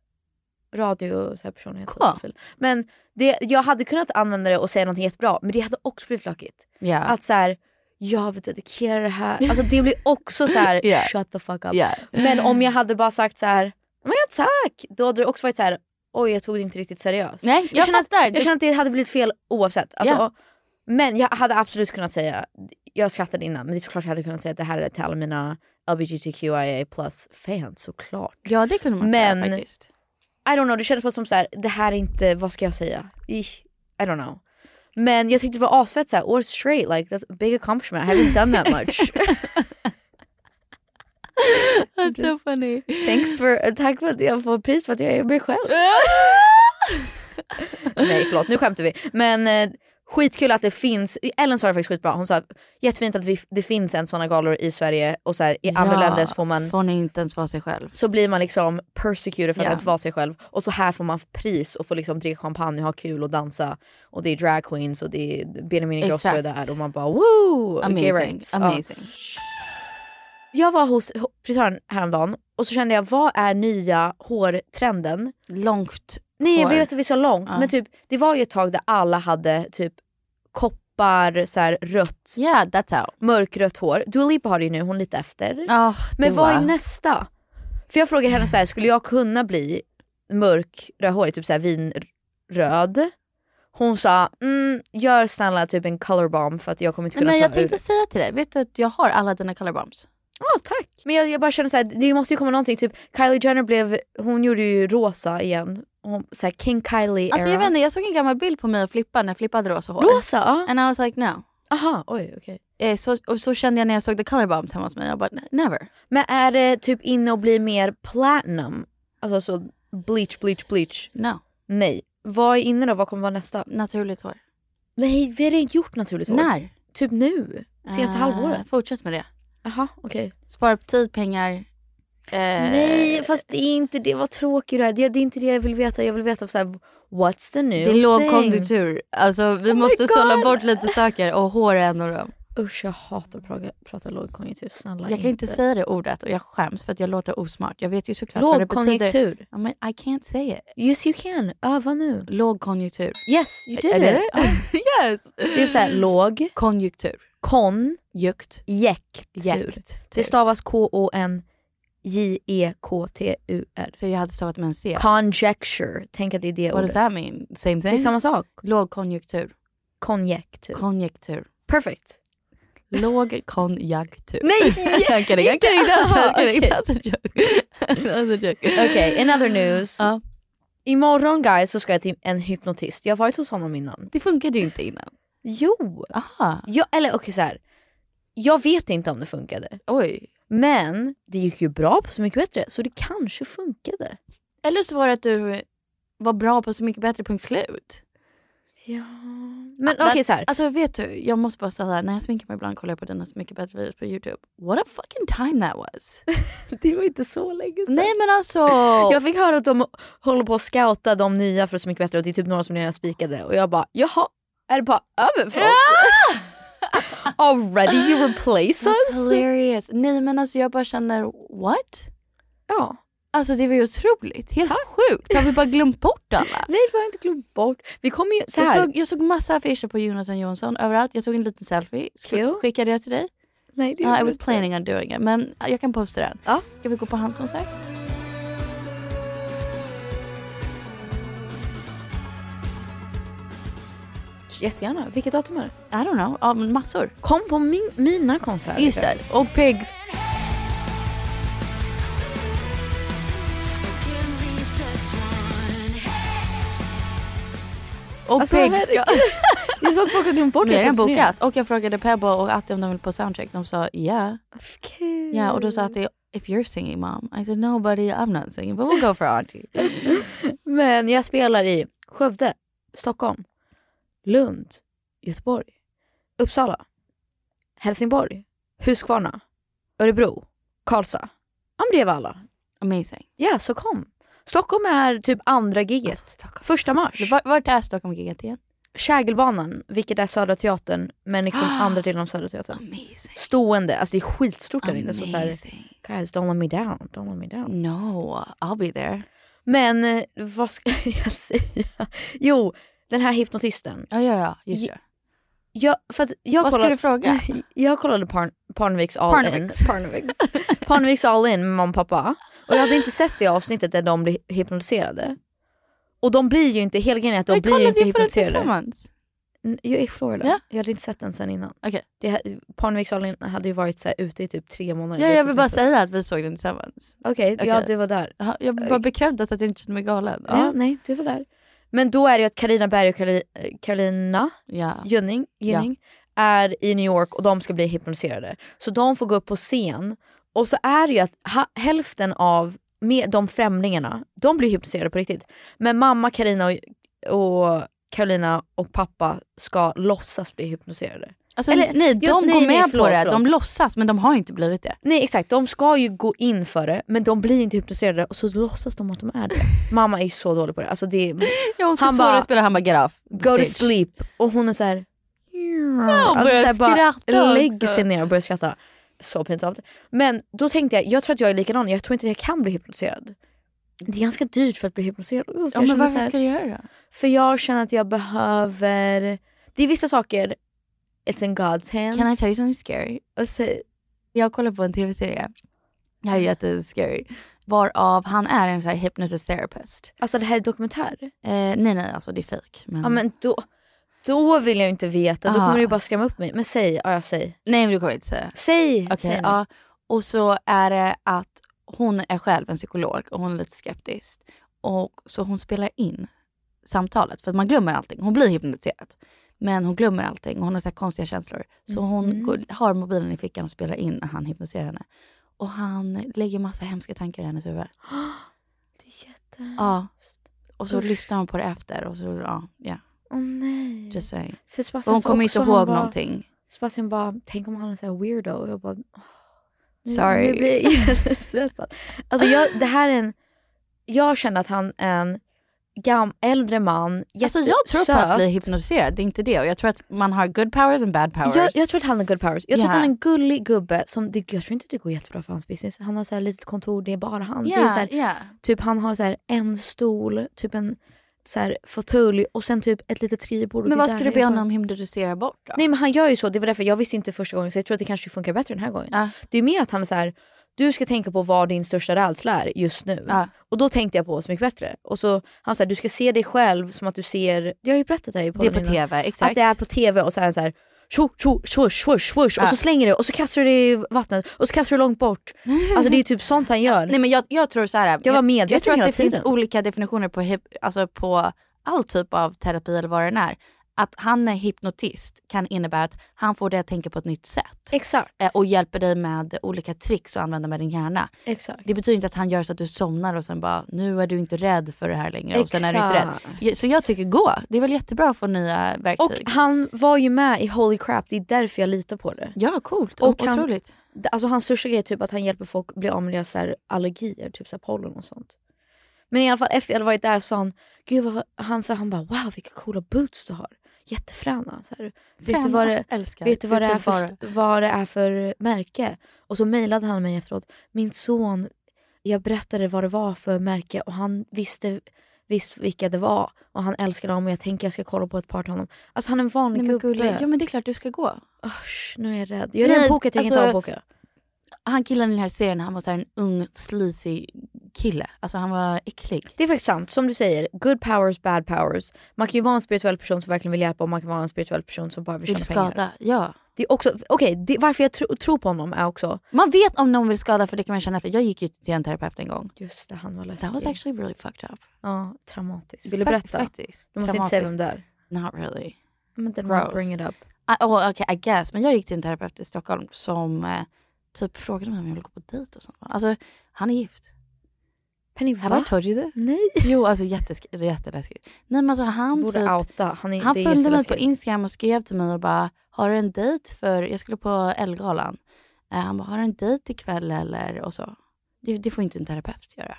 Speaker 3: Radio så här, personlighet. och
Speaker 4: Cool.
Speaker 3: profil. Men det, jag hade kunnat använda det och säga något jättebra men det hade också blivit lökigt.
Speaker 4: Ja.
Speaker 3: Att så här, jag vill dedikera det här. Alltså det blir också så här,
Speaker 4: (laughs) Ja.
Speaker 3: shut the fuck up.
Speaker 4: Ja.
Speaker 3: Men om jag hade bara sagt så här, men tack. Då hade det också varit så här, oj jag tog det inte riktigt seriöst.
Speaker 4: Nej, jag
Speaker 3: känner att,
Speaker 4: fattar. Du-
Speaker 3: jag känner att det hade blivit fel oavsett. Alltså,
Speaker 4: Ja.
Speaker 3: Men jag hade absolut kunnat säga, jag skrattade innan men det är såklart jag hade kunnat säga att det här är till alla mina LGBTQIA plus fans såklart.
Speaker 4: Ja det kunde man säga
Speaker 3: Men-
Speaker 4: faktiskt.
Speaker 3: I don't know, det kändes bara som så här, det här är inte, vad ska jag säga? Ich, I don't know. Men jag tyckte det var asfett såhär, årets straight, like that's a big accomplishment, I haven't done that
Speaker 4: (laughs)
Speaker 3: much.
Speaker 4: That's so funny.
Speaker 3: Thanks for, eh, tack för att jag får pris för att jag är mig själv. (laughs) Nej förlåt, nu skämtar vi. Men eh, skitkul att det finns, Ellen sa det faktiskt skitbra, hon sa jättefint att vi, det finns en sådana galor i Sverige och så här, i andra
Speaker 4: Ja,
Speaker 3: länder så får man
Speaker 4: Får ni inte ens vara sig själv.
Speaker 3: så blir man liksom persecuted för att
Speaker 4: Ja.
Speaker 3: ens vara sig själv. Och så här får man pris och får liksom dricka champagne och ha kul och dansa. Och det är drag queens och det är Benjamin Ingrosso är
Speaker 4: Exakt.
Speaker 3: där och man bara woo!
Speaker 4: Amazing.
Speaker 3: Ja.
Speaker 4: Amazing.
Speaker 3: Jag var hos frisören häromdagen och så kände jag vad är nya hårtrenden?
Speaker 4: Långt
Speaker 3: Nej jag
Speaker 4: hår.
Speaker 3: vet att vi är så långt
Speaker 4: Ja.
Speaker 3: men typ det var ju ett tag där alla hade typ koppar, så här, rött,
Speaker 4: Yeah that's Ah, how.
Speaker 3: mörkrött hår. Dua Lipa har det ju nu, hon är lite efter.
Speaker 4: Ja,
Speaker 3: Men
Speaker 4: det
Speaker 3: vad är
Speaker 4: var-
Speaker 3: nästa? För jag frågade henne så här, skulle jag kunna bli mörk rödhårig, typ så här vinröd? Hon sa, mm, gör snälla typ en color bomb för att jag kommer inte
Speaker 4: Nej,
Speaker 3: kunna
Speaker 4: men jag
Speaker 3: ta ur.
Speaker 4: tänkte säga till dig, vet du att jag har alla dina color bombs?
Speaker 3: Ja tack. Men jag, jag bara känner så här, det måste ju komma någonting. Typ Kylie Jenner blev, hon gjorde ju rosa igen. Hon, så här, King Kylie
Speaker 4: Alltså
Speaker 3: era.
Speaker 4: jag vet inte, jag såg en gammal bild på mig och Flippa när Flippa hade rosa hår.
Speaker 3: Rosa? Ja.
Speaker 4: And I was like no.
Speaker 3: Aha, oj okej.
Speaker 4: eh, så, och så kände jag när jag såg The Colourbombs hemma hos mig. Jag bara, "Ne- never.
Speaker 3: Men är det typ inne och bli mer platinum? Alltså så bleach, bleach, bleach?
Speaker 4: No.
Speaker 3: Nej. Vad är inne då? Vad kommer vara nästa?
Speaker 4: Naturligt hår.
Speaker 3: Nej, vi har redan gjort naturligt hår.
Speaker 4: När?
Speaker 3: Typ nu. Senaste
Speaker 4: Ah,
Speaker 3: halvåret.
Speaker 4: Fortsätt med det.
Speaker 3: Jaha, okej.
Speaker 4: Spara upp tid, pengar. Eh,
Speaker 3: Nej, fast det är inte det. Vad tråkigt det är. Det det är inte det jag vill veta. Jag vill veta så här, what's the new
Speaker 4: Det är
Speaker 3: thing?
Speaker 4: lågkonjunktur. Alltså, vi
Speaker 3: my
Speaker 4: måste sålla
Speaker 3: God.
Speaker 4: bort lite saker och hår är en av dem.
Speaker 3: Usch, jag hatar att prata, prata lågkonjunktur. Snälla
Speaker 4: Jag kan inte säga det ordet och jag skäms för att jag låter osmart. Jag vet ju såklart vad det betyder.
Speaker 3: Lågkonjunktur.
Speaker 4: I, mean, I can't say it.
Speaker 3: Yes you can. Öva nu.
Speaker 4: Lågkonjunktur.
Speaker 3: Yes, you did
Speaker 4: Är
Speaker 3: it.
Speaker 4: det
Speaker 3: Ja.
Speaker 4: (laughs) yes!
Speaker 3: Det är så här, låg,
Speaker 4: Konjunktur.
Speaker 3: kon,
Speaker 4: Jukt.
Speaker 3: jäktur.
Speaker 4: Jäkt.
Speaker 3: Det stavas E K-O-N-J-E-K-T-U-R.
Speaker 4: Så jag hade stavat med en C.
Speaker 3: Conjecture. Tänk att det är det
Speaker 4: What
Speaker 3: ordet.
Speaker 4: does that mean? Same thing?
Speaker 3: Det är samma sak.
Speaker 4: Lågkonjunktur.
Speaker 3: Konjektur.
Speaker 4: Konjunktur.
Speaker 3: Perfect.
Speaker 4: Låg konjunktur. (laughs)
Speaker 3: Nej!
Speaker 4: jag typ. kan inte, jag kan inte ens. Jag kan inte ens. That's a joke. (laughs)
Speaker 3: Okej, okay, in (laughs) other news.
Speaker 4: Ja.
Speaker 3: Imorgon guys så ska jag till en hypnotist. Jag har varit hos honom innan.
Speaker 4: Det funkade ju inte innan.
Speaker 3: Jo!
Speaker 4: Aha.
Speaker 3: Jag, eller okej så här. Jag vet inte om det funkade.
Speaker 4: Oj.
Speaker 3: Men det gick ju bra på Så mycket bättre så det kanske funkade.
Speaker 4: Eller så var det att du var bra på Så mycket bättre punkt slut.
Speaker 3: Ja. Men
Speaker 4: That's-
Speaker 3: okej så här.
Speaker 4: Alltså vet du, jag måste bara säga här, när jag sminkar mig ibland kollar jag på dina Så mycket bättre videos på YouTube. What a fucking time that (laughs) was.
Speaker 3: alltså, Det var inte så länge sedan.
Speaker 4: Nej men (laughs) alltså.
Speaker 3: Jag fick höra att de håller på att scouta de nya för Så mycket bättre och det är typ några som redan spikade och jag bara jaha, är det bara över för oss? (laughs) Already you replace
Speaker 4: Ah! That's
Speaker 3: us?
Speaker 4: hilarious. Nej men alltså jag bara känner what?
Speaker 3: Ja.
Speaker 4: Alltså det var ju otroligt. Helt sjukt. Har vi bara glömt bort (laughs) alla?
Speaker 3: Nej vi har inte glömt bort. Vi kommer ju så
Speaker 4: Jag
Speaker 3: här.
Speaker 4: såg, jag såg massa affischer på Jonathan Johansson överallt. Jag tog en liten selfie. Sk-
Speaker 3: Cute.
Speaker 4: Skickade jag till dig.
Speaker 3: Nej, det
Speaker 4: Ja, I
Speaker 3: gjorde
Speaker 4: was
Speaker 3: inte.
Speaker 4: planning on doing it. Men jag kan posta den.
Speaker 3: Ja.
Speaker 4: Ska vi gå på hans konsert?
Speaker 3: Jättegärna. Vilket datum är det?
Speaker 4: I don't know. Ja, men massor.
Speaker 3: Kom på min, mina konserter.
Speaker 4: Just
Speaker 3: guys.
Speaker 4: det. Och Pigs. Och
Speaker 3: Alltså,
Speaker 4: Pigs ska...
Speaker 3: herregud. Det är som att folk har glömt bort
Speaker 4: Nu är den
Speaker 3: som turné.
Speaker 4: bokat. Och jag frågade Pebble och Atti om de ville på soundcheck. De sa yeah.
Speaker 3: Kul.
Speaker 4: Yeah, och då sa Atti if you're singing mom. I said no buddy, I'm not singing but we'll go for
Speaker 3: (laughs)
Speaker 4: Auntie.
Speaker 3: (laughs) Men jag spelar i Skövde, Stockholm, Lund, Göteborg, Uppsala, Helsingborg, Huskvarna, Örebro, Karlstad. Ja, men det var alla.
Speaker 4: Amazing.
Speaker 3: Ja, så kom. Stockholm är typ andra giget.
Speaker 4: Stockholm.
Speaker 3: Första mars.
Speaker 4: Vart, vart är Stockholm-giget igen?
Speaker 3: Kägelbanan, vilket är Södra Teatern, men
Speaker 4: (gasps)
Speaker 3: liksom andra delen av Södra Teatern.
Speaker 4: Amazing.
Speaker 3: Stående, alltså det är skitstort där inne. Så så här,
Speaker 4: Amazing.
Speaker 3: guys, don't let me down, don't let me down.
Speaker 4: No, I'll be there.
Speaker 3: Men eh, vad ska (laughs) jag säga? Jo, den här hypnotisten.
Speaker 4: Ja, ja, ja. Just det.
Speaker 3: Jag, för att jag
Speaker 4: Vad ska
Speaker 3: kollade,
Speaker 4: du fråga?
Speaker 3: (laughs) Jag kollade Parn, Parnviks All
Speaker 4: Parneviks.
Speaker 3: In. (laughs)
Speaker 4: (laughs)
Speaker 3: Parneviks. Parneviks All In med mamma och pappa. Och jag hade inte sett det avsnittet där de blir hypnotiserade. Och de blir ju inte, hela grejen är att de
Speaker 4: Vi
Speaker 3: blir typ ju
Speaker 4: kollade
Speaker 3: inte
Speaker 4: ju på det
Speaker 3: hypnotiserade.
Speaker 4: tillsammans.
Speaker 3: N- Jag är i Florida,
Speaker 4: Ja.
Speaker 3: jag hade inte sett den sen innan.
Speaker 4: Okej.
Speaker 3: Det här, Parneviks All In hade ju varit så här ute i typ tre månader.
Speaker 4: Ja,
Speaker 3: Det är
Speaker 4: jag vill bara
Speaker 3: fortfarande-
Speaker 4: säga att vi såg den tillsammans.
Speaker 3: Okej, ja
Speaker 4: Okej.
Speaker 3: du var där.
Speaker 4: Ja, Jag vill bara bekräfta så att jag inte känner mig galen.
Speaker 3: Ja. nej du var där. Men då är det ju att Karina Berg och Kari- Karolina
Speaker 4: Ja.
Speaker 3: Gynning, Gynning är i New York och de ska bli hypnotiserade. Så de får gå upp på scen och så är det ju att ha, hälften av med de främlingarna, de blir hypnotiserade på riktigt. Men mamma Karina och, och Karolina och pappa ska låtsas bli hypnotiserade.
Speaker 4: Alltså,
Speaker 3: Eller-
Speaker 4: nej, de
Speaker 3: jo, nej,
Speaker 4: går
Speaker 3: nej,
Speaker 4: med
Speaker 3: förlåt,
Speaker 4: på det. De
Speaker 3: förlåt.
Speaker 4: låtsas, men de har inte blivit det.
Speaker 3: Nej exakt, de ska ju gå in för det men de blir inte hypnotiserade och så låtsas de att de är det. mamma är ju så dålig på det. Alltså det är,
Speaker 4: Ja, hon
Speaker 3: ska
Speaker 4: han
Speaker 3: svara
Speaker 4: bara,
Speaker 3: och
Speaker 4: spela, han bara get off.
Speaker 3: go to sleep och hon är så här. alltså
Speaker 4: och
Speaker 3: så
Speaker 4: börjar
Speaker 3: här
Speaker 4: skratta också.
Speaker 3: lägger sig ner och börjar skratta. Så pinsamt. Men då tänkte jag, jag tror att jag är likadan, jag tror inte att jag kan bli hypnotiserad. Det är ganska dyrt för att bli hypnotiserad. Så jag
Speaker 4: Ja,
Speaker 3: känner
Speaker 4: men
Speaker 3: så
Speaker 4: varför
Speaker 3: här,
Speaker 4: ska du göra det då?
Speaker 3: För jag känner att jag behöver, det är vissa saker, it's in God's hands.
Speaker 4: Can I tell you something scary?
Speaker 3: Och så,
Speaker 4: Jag kollar på en tv-serie. Det
Speaker 3: Mm.
Speaker 4: här är jättescary. Varav han är en så här hypnotist therapist.
Speaker 3: alltså det här är dokumentär.
Speaker 4: Eh, nej, nej, alltså det är fejk. Men...
Speaker 3: Ja men då, då vill jag ju inte veta, då
Speaker 4: Ah.
Speaker 3: kommer du bara skrämma upp mig. Men säg, ja jag säg.
Speaker 4: Nej, men du kommer inte säga.
Speaker 3: Säg!
Speaker 4: Okej,
Speaker 3: säg nu.
Speaker 4: ja. Och så är det att hon är själv en psykolog och hon är lite skeptisk. Och, så hon spelar in samtalet för att man glömmer allting. Hon blir hypnotiserad. Men hon glömmer allting och hon har så här konstiga känslor. Så hon
Speaker 3: Mhm.
Speaker 4: går, har mobilen i fickan och spelar in när han hypnotiserar henne. Och han lägger massa hemska tankar i hennes huvud.
Speaker 3: (gasps) Det är jätte...
Speaker 4: Ja. Och så
Speaker 3: Usch.
Speaker 4: lyssnar hon på det efter och så, ja. ja.
Speaker 3: Åh nej.
Speaker 4: Just saying.
Speaker 3: För
Speaker 4: Och
Speaker 3: Sebastian
Speaker 4: hon
Speaker 3: sa
Speaker 4: kommer ju
Speaker 3: också,
Speaker 4: inte
Speaker 3: han
Speaker 4: ihåg
Speaker 3: bara-
Speaker 4: någonting.
Speaker 3: Sebastian bara, tänk om han är så här weirdo. Och jag bara, åh, nu,
Speaker 4: Sorry.
Speaker 3: nu blir jag jättestressad. Alltså jag, det här är en, jag känner att han är en gam, äldre man,
Speaker 4: Alltså jag tror på att bli
Speaker 3: jättesöt.
Speaker 4: hypnotiserad, det är inte det. Och jag tror att man har good powers and bad powers.
Speaker 3: Jag, jag tror att han har good powers. Jag tror
Speaker 4: Ja.
Speaker 3: att han är en gullig gubbe. Som, det, jag tror inte det går jättebra för hans business. Han har så här litet kontor, det är bara han. det är
Speaker 4: Ja,
Speaker 3: så här,
Speaker 4: ja.
Speaker 3: typ, han har så här en stol, typ en så här, fåtölj och sen typ ett litet skrivbord. och
Speaker 4: men
Speaker 3: det
Speaker 4: vad
Speaker 3: där
Speaker 4: ska du
Speaker 3: är
Speaker 4: be
Speaker 3: bara-
Speaker 4: honom hypnotisera bort då?
Speaker 3: Nej men han gör ju så, det var därför jag visste inte första gången så jag tror att det kanske funkar bättre den här gången. Det är mer att han är så här, du ska tänka på vad din största rädsla är just nu. Och då tänkte jag på Så mycket bättre. Och så han säger du ska se dig själv som att du ser, jag har ju berättat det här i podden
Speaker 4: på
Speaker 3: innan.
Speaker 4: TV, exakt.
Speaker 3: Att det är på tv och så är han så här, tjo, tjo, tjo, tjo, tjo,
Speaker 4: Ja.
Speaker 3: och så slänger du och så kastar du det i vattnet och så kastar du långt bort. Alltså det är typ sånt han gör.
Speaker 4: Nej men jag, jag tror så här.
Speaker 3: Jag var medveten
Speaker 4: Jag tror att
Speaker 3: hela
Speaker 4: det finns
Speaker 3: tiden.
Speaker 4: olika definitioner på, hip, alltså på all typ av terapi eller vad den är. Att han är hypnotist kan innebära att han får dig att tänka på ett nytt sätt. eh,
Speaker 3: Exakt.
Speaker 4: Och hjälper dig med olika tricks att använda med din hjärna.
Speaker 3: Exakt.
Speaker 4: Det betyder inte att han gör så att du somnar och sen bara, nu är du inte rädd för det här längre. Och sen är du inte rädd.
Speaker 3: Exakt.
Speaker 4: Ja, Så jag tycker gå. Det är väl jättebra att få nya
Speaker 3: Och
Speaker 4: verktyg.
Speaker 3: han var ju med i Holy Crap, det är därför jag litar på det.
Speaker 4: Ja, coolt.
Speaker 3: Och han-
Speaker 4: Otroligt.
Speaker 3: d- Alltså hans största grej är typ att han hjälper folk bli av med deras så här allergier, typ så här pollen och sånt. Men i alla fall efter jag hade varit där så sa han, gud vad han, för han bara wow vilka coola boots du har. Jättefräna. Så här. Vet du
Speaker 4: Fräna,
Speaker 3: vad det,
Speaker 4: älskar.
Speaker 3: vet du vad
Speaker 4: Det
Speaker 3: det,
Speaker 4: är
Speaker 3: är
Speaker 4: så
Speaker 3: för, st- vad det är för märke? Och så mejlade han mig efteråt, min son, jag berättade vad det var för märke och han visste visst vilka det var och han älskade dem och jag tänker jag ska kolla på ett par till honom. Alltså han är en vanlig
Speaker 4: Nej, men
Speaker 3: gubbe.
Speaker 4: gullig. Ja men det är klart du ska gå.
Speaker 3: Usch, nu är jag rädd. Jag har redan
Speaker 4: Nej,
Speaker 3: bokat, jag kan inte
Speaker 4: alltså,
Speaker 3: avboka.
Speaker 4: Han killen i den här serien, han var så här en ung, sleazy kille. Alltså han var äcklig.
Speaker 3: Det är faktiskt sant. Som du säger, good powers, bad powers. Man kan ju vara en spirituell person som verkligen vill hjälpa och man kan vara en spirituell person som bara vill tjäna
Speaker 4: Vill skada,
Speaker 3: pengar.
Speaker 4: ja.
Speaker 3: Det är också, okej, det- varför jag tro, tror på honom är också...
Speaker 4: Man vet om någon vill skada för det kan man känna efter. Jag gick ju till en terapeut en gång.
Speaker 3: Just det, han var läskig.
Speaker 4: That was actually really fucked up.
Speaker 3: Ja, traumatiskt. Vill du
Speaker 4: Fak-
Speaker 3: berätta?
Speaker 4: Faktiskt.
Speaker 3: Du måste inte säga vem det är.
Speaker 4: Traumatiskt. Not really.
Speaker 3: Men then
Speaker 4: Gross.
Speaker 3: we'll bring it up.
Speaker 4: I, oh, okay, I guess. Men jag gick till en terapeut i Stockholm som eh, typ frågade mig om jag ville gå på dejt och sånt. Alltså, han är gift.
Speaker 3: Penny,
Speaker 4: Have I
Speaker 3: va?
Speaker 4: told you this?
Speaker 3: Nej.
Speaker 4: (laughs) Jo, alltså jättesk- jätteläskigt. Nej men alltså han
Speaker 3: Du borde
Speaker 4: typ...
Speaker 3: outa. Han, är,
Speaker 4: Han
Speaker 3: det är
Speaker 4: följde mig på
Speaker 3: jätteläskigt.
Speaker 4: Instagram och skrev till mig och bara, har du en dejt för, jag skulle på Ellegalan. Eh, han bara, har du en dejt ikväll eller? Och så. Det, det får inte en terapeut göra.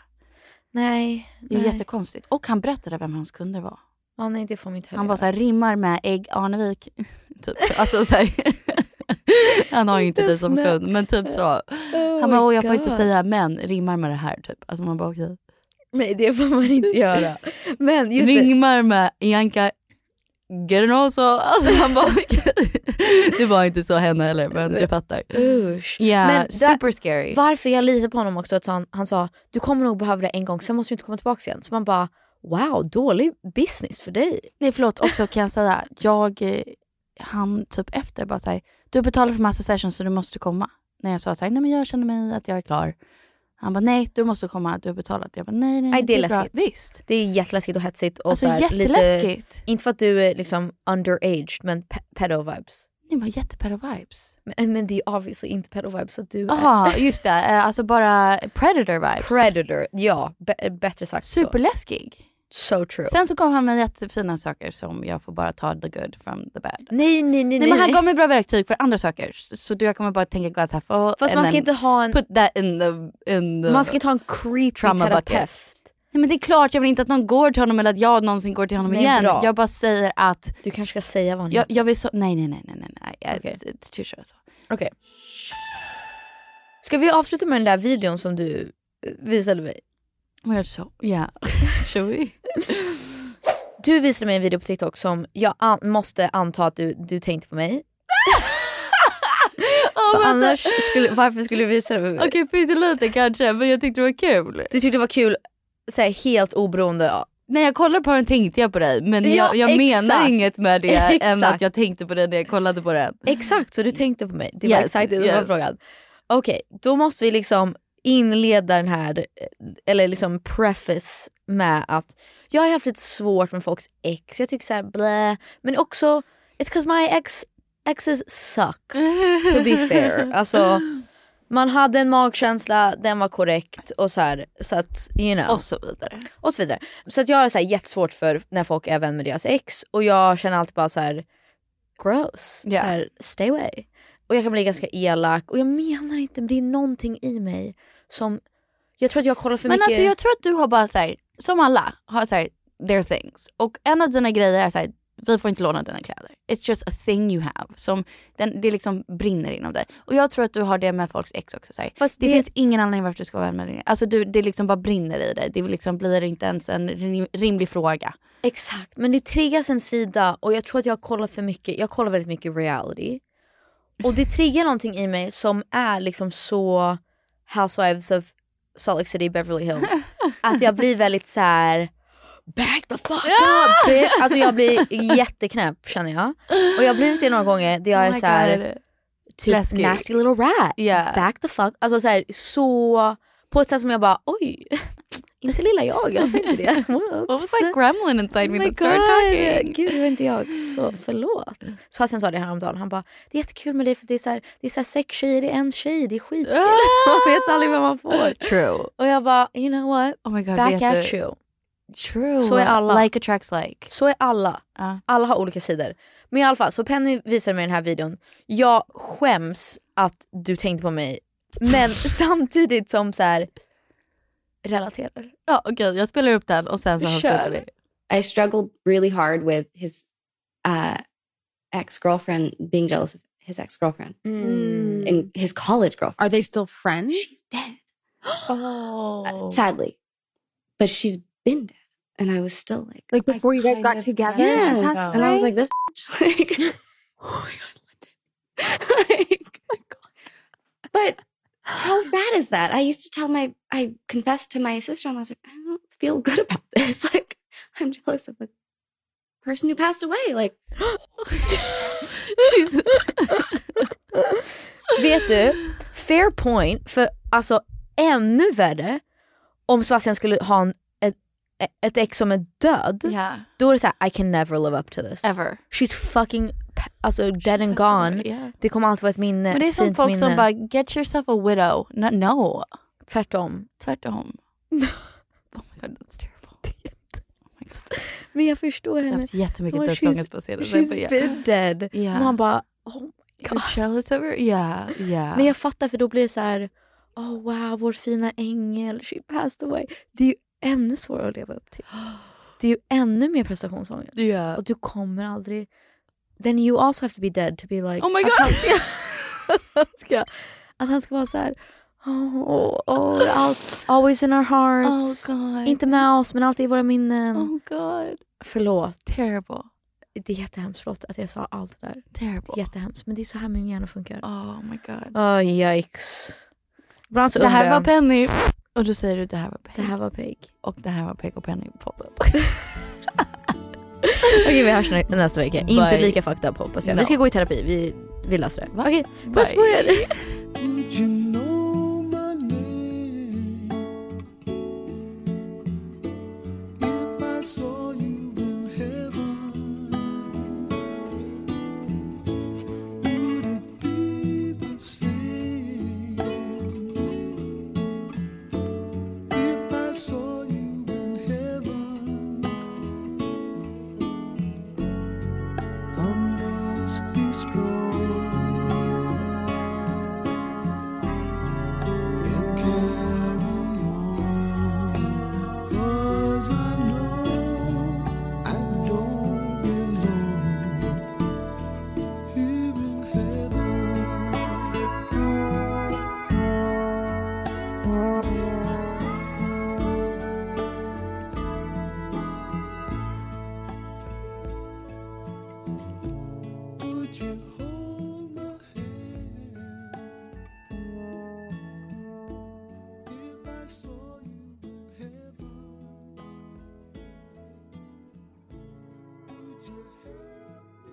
Speaker 3: Nej.
Speaker 4: Det är
Speaker 3: nej.
Speaker 4: jättekonstigt. Och han berättade vem hans kunder var.
Speaker 3: Ja, nej, det får man inte heller
Speaker 4: Han bara så
Speaker 3: göra.
Speaker 4: här, rimmar med ägg Arnevik. (laughs) typ. Alltså så här. (laughs) Han har ju inte
Speaker 3: Inte
Speaker 4: dig som
Speaker 3: snäll.
Speaker 4: kund, men typ så.
Speaker 3: Oh
Speaker 4: han bara,
Speaker 3: my
Speaker 4: "Åh, jag får inte
Speaker 3: God."
Speaker 4: säga men, rimmar med det här typ. Alltså man bara, okej.
Speaker 3: Nej, det får man inte (laughs) göra. Men just det-
Speaker 4: Rimmar med Bianca Granoso. Alltså han bara, (laughs) det var inte så henne heller, men jag fattar.
Speaker 3: Usch.
Speaker 4: Ja,
Speaker 3: Men där-
Speaker 4: super scary.
Speaker 3: Varför jag litar på honom också, att han, han sa du kommer nog behöva det en gång, sen måste du inte komma tillbaka igen. Så man bara, wow, dålig business för dig.
Speaker 4: Nej förlåt, också kan jag säga, jag, eh, han typ efter bara så här, du betalar för massa sessions så du måste komma. När jag sa så här, nej men jag känner mig att jag är klar. Han bara, nej du måste komma, du har betalat. Jag bara, nej nej,
Speaker 3: Nej, det är
Speaker 4: Mm, bra."
Speaker 3: läskigt.
Speaker 4: Visst.
Speaker 3: Det är jätteläskigt och hetsigt. Och
Speaker 4: Alltså,
Speaker 3: så här, lite,
Speaker 4: jätteläskigt.
Speaker 3: inte för att du är liksom underaged, men pe- pedo-vibes.
Speaker 4: Nej men jättepedo-vibes.
Speaker 3: Men, men det är ju obviously inte pedo-vibes så du
Speaker 4: Jaha,
Speaker 3: (laughs) är.
Speaker 4: just det. Eh, Alltså bara predator-vibes.
Speaker 3: Predator, ja. Be- bättre sagt
Speaker 4: Superläskig.
Speaker 3: så. So true.
Speaker 4: Sen så gav han mig jättefina saker som jag får bara ta the good from the bad.
Speaker 3: nej,
Speaker 4: Nej,
Speaker 3: nej, nej.
Speaker 4: men han
Speaker 3: nej.
Speaker 4: gav mig bra verktyg för andra saker. Så så jag kommer bara tänka glass half full.
Speaker 3: Fast
Speaker 4: and
Speaker 3: man ska
Speaker 4: then
Speaker 3: inte ha en...
Speaker 4: Put that in the, in the
Speaker 3: Man ska inte ha en creepy terapeut.
Speaker 4: Nej men det är klart, jag vill inte att någon går till honom eller att jag någonsin går till honom
Speaker 3: Nej,
Speaker 4: igen.
Speaker 3: bra. Mm.
Speaker 4: Jag bara säger att...
Speaker 3: Du kanske ska säga vad han
Speaker 4: jag,
Speaker 3: heter.
Speaker 4: jag vill så... Nej nej nej nej nej. nej. It's, it's too sure, alltså. så.
Speaker 3: Okej. Ska vi avsluta med den där videon som du eh, visade mig?
Speaker 4: Men jag så,
Speaker 3: (laughs)
Speaker 4: ja. Should (laughs) we?
Speaker 3: Du visade mig en video på TikTok som jag an- måste anta att du, du tänkte på mig. För
Speaker 4: vänta.
Speaker 3: annars, skulle, varför skulle du visa det för mig?
Speaker 4: Okej pyttelite kanske men jag tyckte det var kul.
Speaker 3: Du tyckte det var kul, så här, helt oberoende av...
Speaker 4: När jag kollade på den tänkte jag på dig men
Speaker 3: Ja,
Speaker 4: jag, jag menar
Speaker 3: exakt.
Speaker 4: inget med (laughs) det än att
Speaker 3: Exakt.
Speaker 4: jag tänkte på dig när jag kollade på den.
Speaker 3: Exakt, så du tänkte på mig. Det var
Speaker 4: Yes,
Speaker 3: exakt det som var
Speaker 4: yes.
Speaker 3: frågan. Okej, då måste vi liksom inleda den här, eller liksom preface med att jag har haft lite svårt med folks ex. Jag tycker så här blä, men också It's cause my ex, exes suck. to be
Speaker 4: (laughs)
Speaker 3: fair. Alltså, man hade en magkänsla, den var korrekt och så här, så att you know.
Speaker 4: Och så vidare.
Speaker 3: Och så vidare. Så att jag har så här jättesvårt för när folk är vän med deras ex och jag känner alltid bara så här gross,
Speaker 4: Ja.
Speaker 3: så här, stay away. Och jag kan bli ganska elak och jag menar inte, men det är någonting i mig som, jag tror att jag kollar för
Speaker 4: Men
Speaker 3: mycket.
Speaker 4: alltså jag tror att du har bara så här, som alla, har så här, their things. Och en av dina grejer är så här, vi får inte låna dina kläder. It's just a thing you have. Som den, det liksom brinner inom dig. Och jag tror att du har det med folks ex också. Så här.
Speaker 3: Fast
Speaker 4: det,
Speaker 3: det-
Speaker 4: finns ingen anledning varför du ska vara vän med din Alltså du, det liksom bara brinner i dig. Det liksom blir inte ens en rim, rimlig fråga.
Speaker 3: Exakt, men det triggas en sida och jag tror att jag kollar för mycket, jag kollar väldigt mycket reality. Och det triggar någonting i mig som är liksom så Housewives of Salt Lake City, Beverly
Speaker 4: (laughs)
Speaker 3: Hills. Att jag blir väldigt så här. Back the fuck up bitch. Alltså jag blir jätteknäpp känner jag. Och jag har blivit det några gånger där jag är
Speaker 4: Oh my
Speaker 3: så här,
Speaker 4: God.
Speaker 3: typ
Speaker 4: Läskig.
Speaker 3: nasty little rat. Back the fuck. Alltså så, här, så på ett sätt som jag bara oj, inte lilla jag, jag sa inte det.
Speaker 4: What was that gremlin inside me
Speaker 3: Oh my
Speaker 4: that started
Speaker 3: God.
Speaker 4: talking?
Speaker 3: Gud,
Speaker 4: (laughs)
Speaker 3: det var inte jag. Så förlåt. Så Mm. fast jag sa det häromdagen, han bara det är jättekul med det för det är så här, det är så här sex tjejer i en tjej, det är skitkul. (laughs)
Speaker 4: Oh,
Speaker 3: man vet aldrig vad man
Speaker 4: (laughs)
Speaker 3: får.
Speaker 4: True.
Speaker 3: Och jag bara you know what,
Speaker 4: Oh my God,
Speaker 3: back
Speaker 4: vet
Speaker 3: at
Speaker 4: du-
Speaker 3: you.
Speaker 4: True.
Speaker 3: Så är alla.
Speaker 4: Like attracts like.
Speaker 3: Så är alla. Alla har olika sidor. Men i alla fall, så Penny visade mig den här videon. Jag skäms att du tänkte på mig men (laughs) samtidigt som så här relaterar.
Speaker 4: Ja okej, jag spelar upp den och sen så avslutar vi.
Speaker 15: I struggled really hard with his uh, ex girlfriend being jealous of his ex girlfriend
Speaker 3: Mm.
Speaker 15: and his college girlfriend. Are they still friends? She's dead. oh, sadly, but she's been dead, and I was still like,
Speaker 16: Like before you guys got together, she
Speaker 15: yes.
Speaker 16: passed
Speaker 15: and I was
Speaker 16: away?
Speaker 15: like, this bitch, (laughs) like, (laughs) oh my oh god, Linda. like, oh my god. But how (sighs) bad is that? I used to tell my, I confessed to my sister, and I was like, I don't feel good about (laughs) this. Like, I'm jealous of the person who passed away. Like,
Speaker 4: Jesus.
Speaker 3: Vet du, fair point. För alltså ännu värre om Sebastian skulle ha en, ett, ett ex som är död. Då är det såhär, I can never live up to this.
Speaker 4: Ever.
Speaker 3: She's fucking pa- alltså, dead and gone.
Speaker 4: yeah.
Speaker 3: Det kommer alltid vara ett minne.
Speaker 4: Men det är
Speaker 3: ett
Speaker 4: som
Speaker 3: fint
Speaker 4: folk
Speaker 3: minne.
Speaker 4: som bara, get yourself a widow. No. no.
Speaker 3: Tvärtom.
Speaker 4: (laughs) Tvärtom. oh my god, that's terrible. (laughs) Oh
Speaker 3: Men jag förstår henne.
Speaker 4: Jag har haft jättemycket
Speaker 3: Hon bara,
Speaker 4: dödsångest
Speaker 3: she's-
Speaker 4: på senare.
Speaker 3: She's
Speaker 4: Jag bara,
Speaker 3: been dead.
Speaker 4: Yeah.
Speaker 3: Och han bara, oh my god.
Speaker 4: You're jealous of her? Yeah, yeah.
Speaker 3: Men jag fattar för då blir det så här, oh wow vår fina ängel, she passed away. Det är ju ännu svårare att leva upp till. Det är ju ännu mer prestationsångest.
Speaker 4: Ja.
Speaker 3: Och du kommer aldrig... Then you also have to be dead to be like...
Speaker 4: Oh my
Speaker 3: Att han
Speaker 4: God.
Speaker 3: ska, (laughs) att ska, att han ska vara så här... Oh, oh, oh, we're al- always in our hearts.
Speaker 4: Oh God.
Speaker 3: Inte med oss men alltid i våra minnen.
Speaker 4: Oh god.
Speaker 3: Förlåt.
Speaker 4: Terrible.
Speaker 3: Det är jättehemskt, förlåt att jag sa allt det där.
Speaker 4: Terrible.
Speaker 3: Det är jättehemskt men det är så här min hjärna funkar.
Speaker 4: Oh my god.
Speaker 3: Oh, yikes. Ibland så
Speaker 4: det här
Speaker 3: undrar
Speaker 4: var
Speaker 3: jag-
Speaker 4: Penny. Och då säger du det här var Peg.
Speaker 3: Det här var Peg.
Speaker 4: Och det här var Peg och Penny-podden.
Speaker 3: Okej vi hörs nä- nästa vecka.
Speaker 4: Bye.
Speaker 3: Inte Typ lika fucked up hoppas jag. Vi ska
Speaker 4: No.
Speaker 3: gå i terapi. Vi, vi löser det. Okej, puss på er.
Speaker 17: Would you know my name if I saw you in heaven? Would it be the same if I saw you in heaven? I must be strong. And carry on, 'cause I know I don't belong here in heaven. Would you hold my hand? If I saw you in heaven, would you help me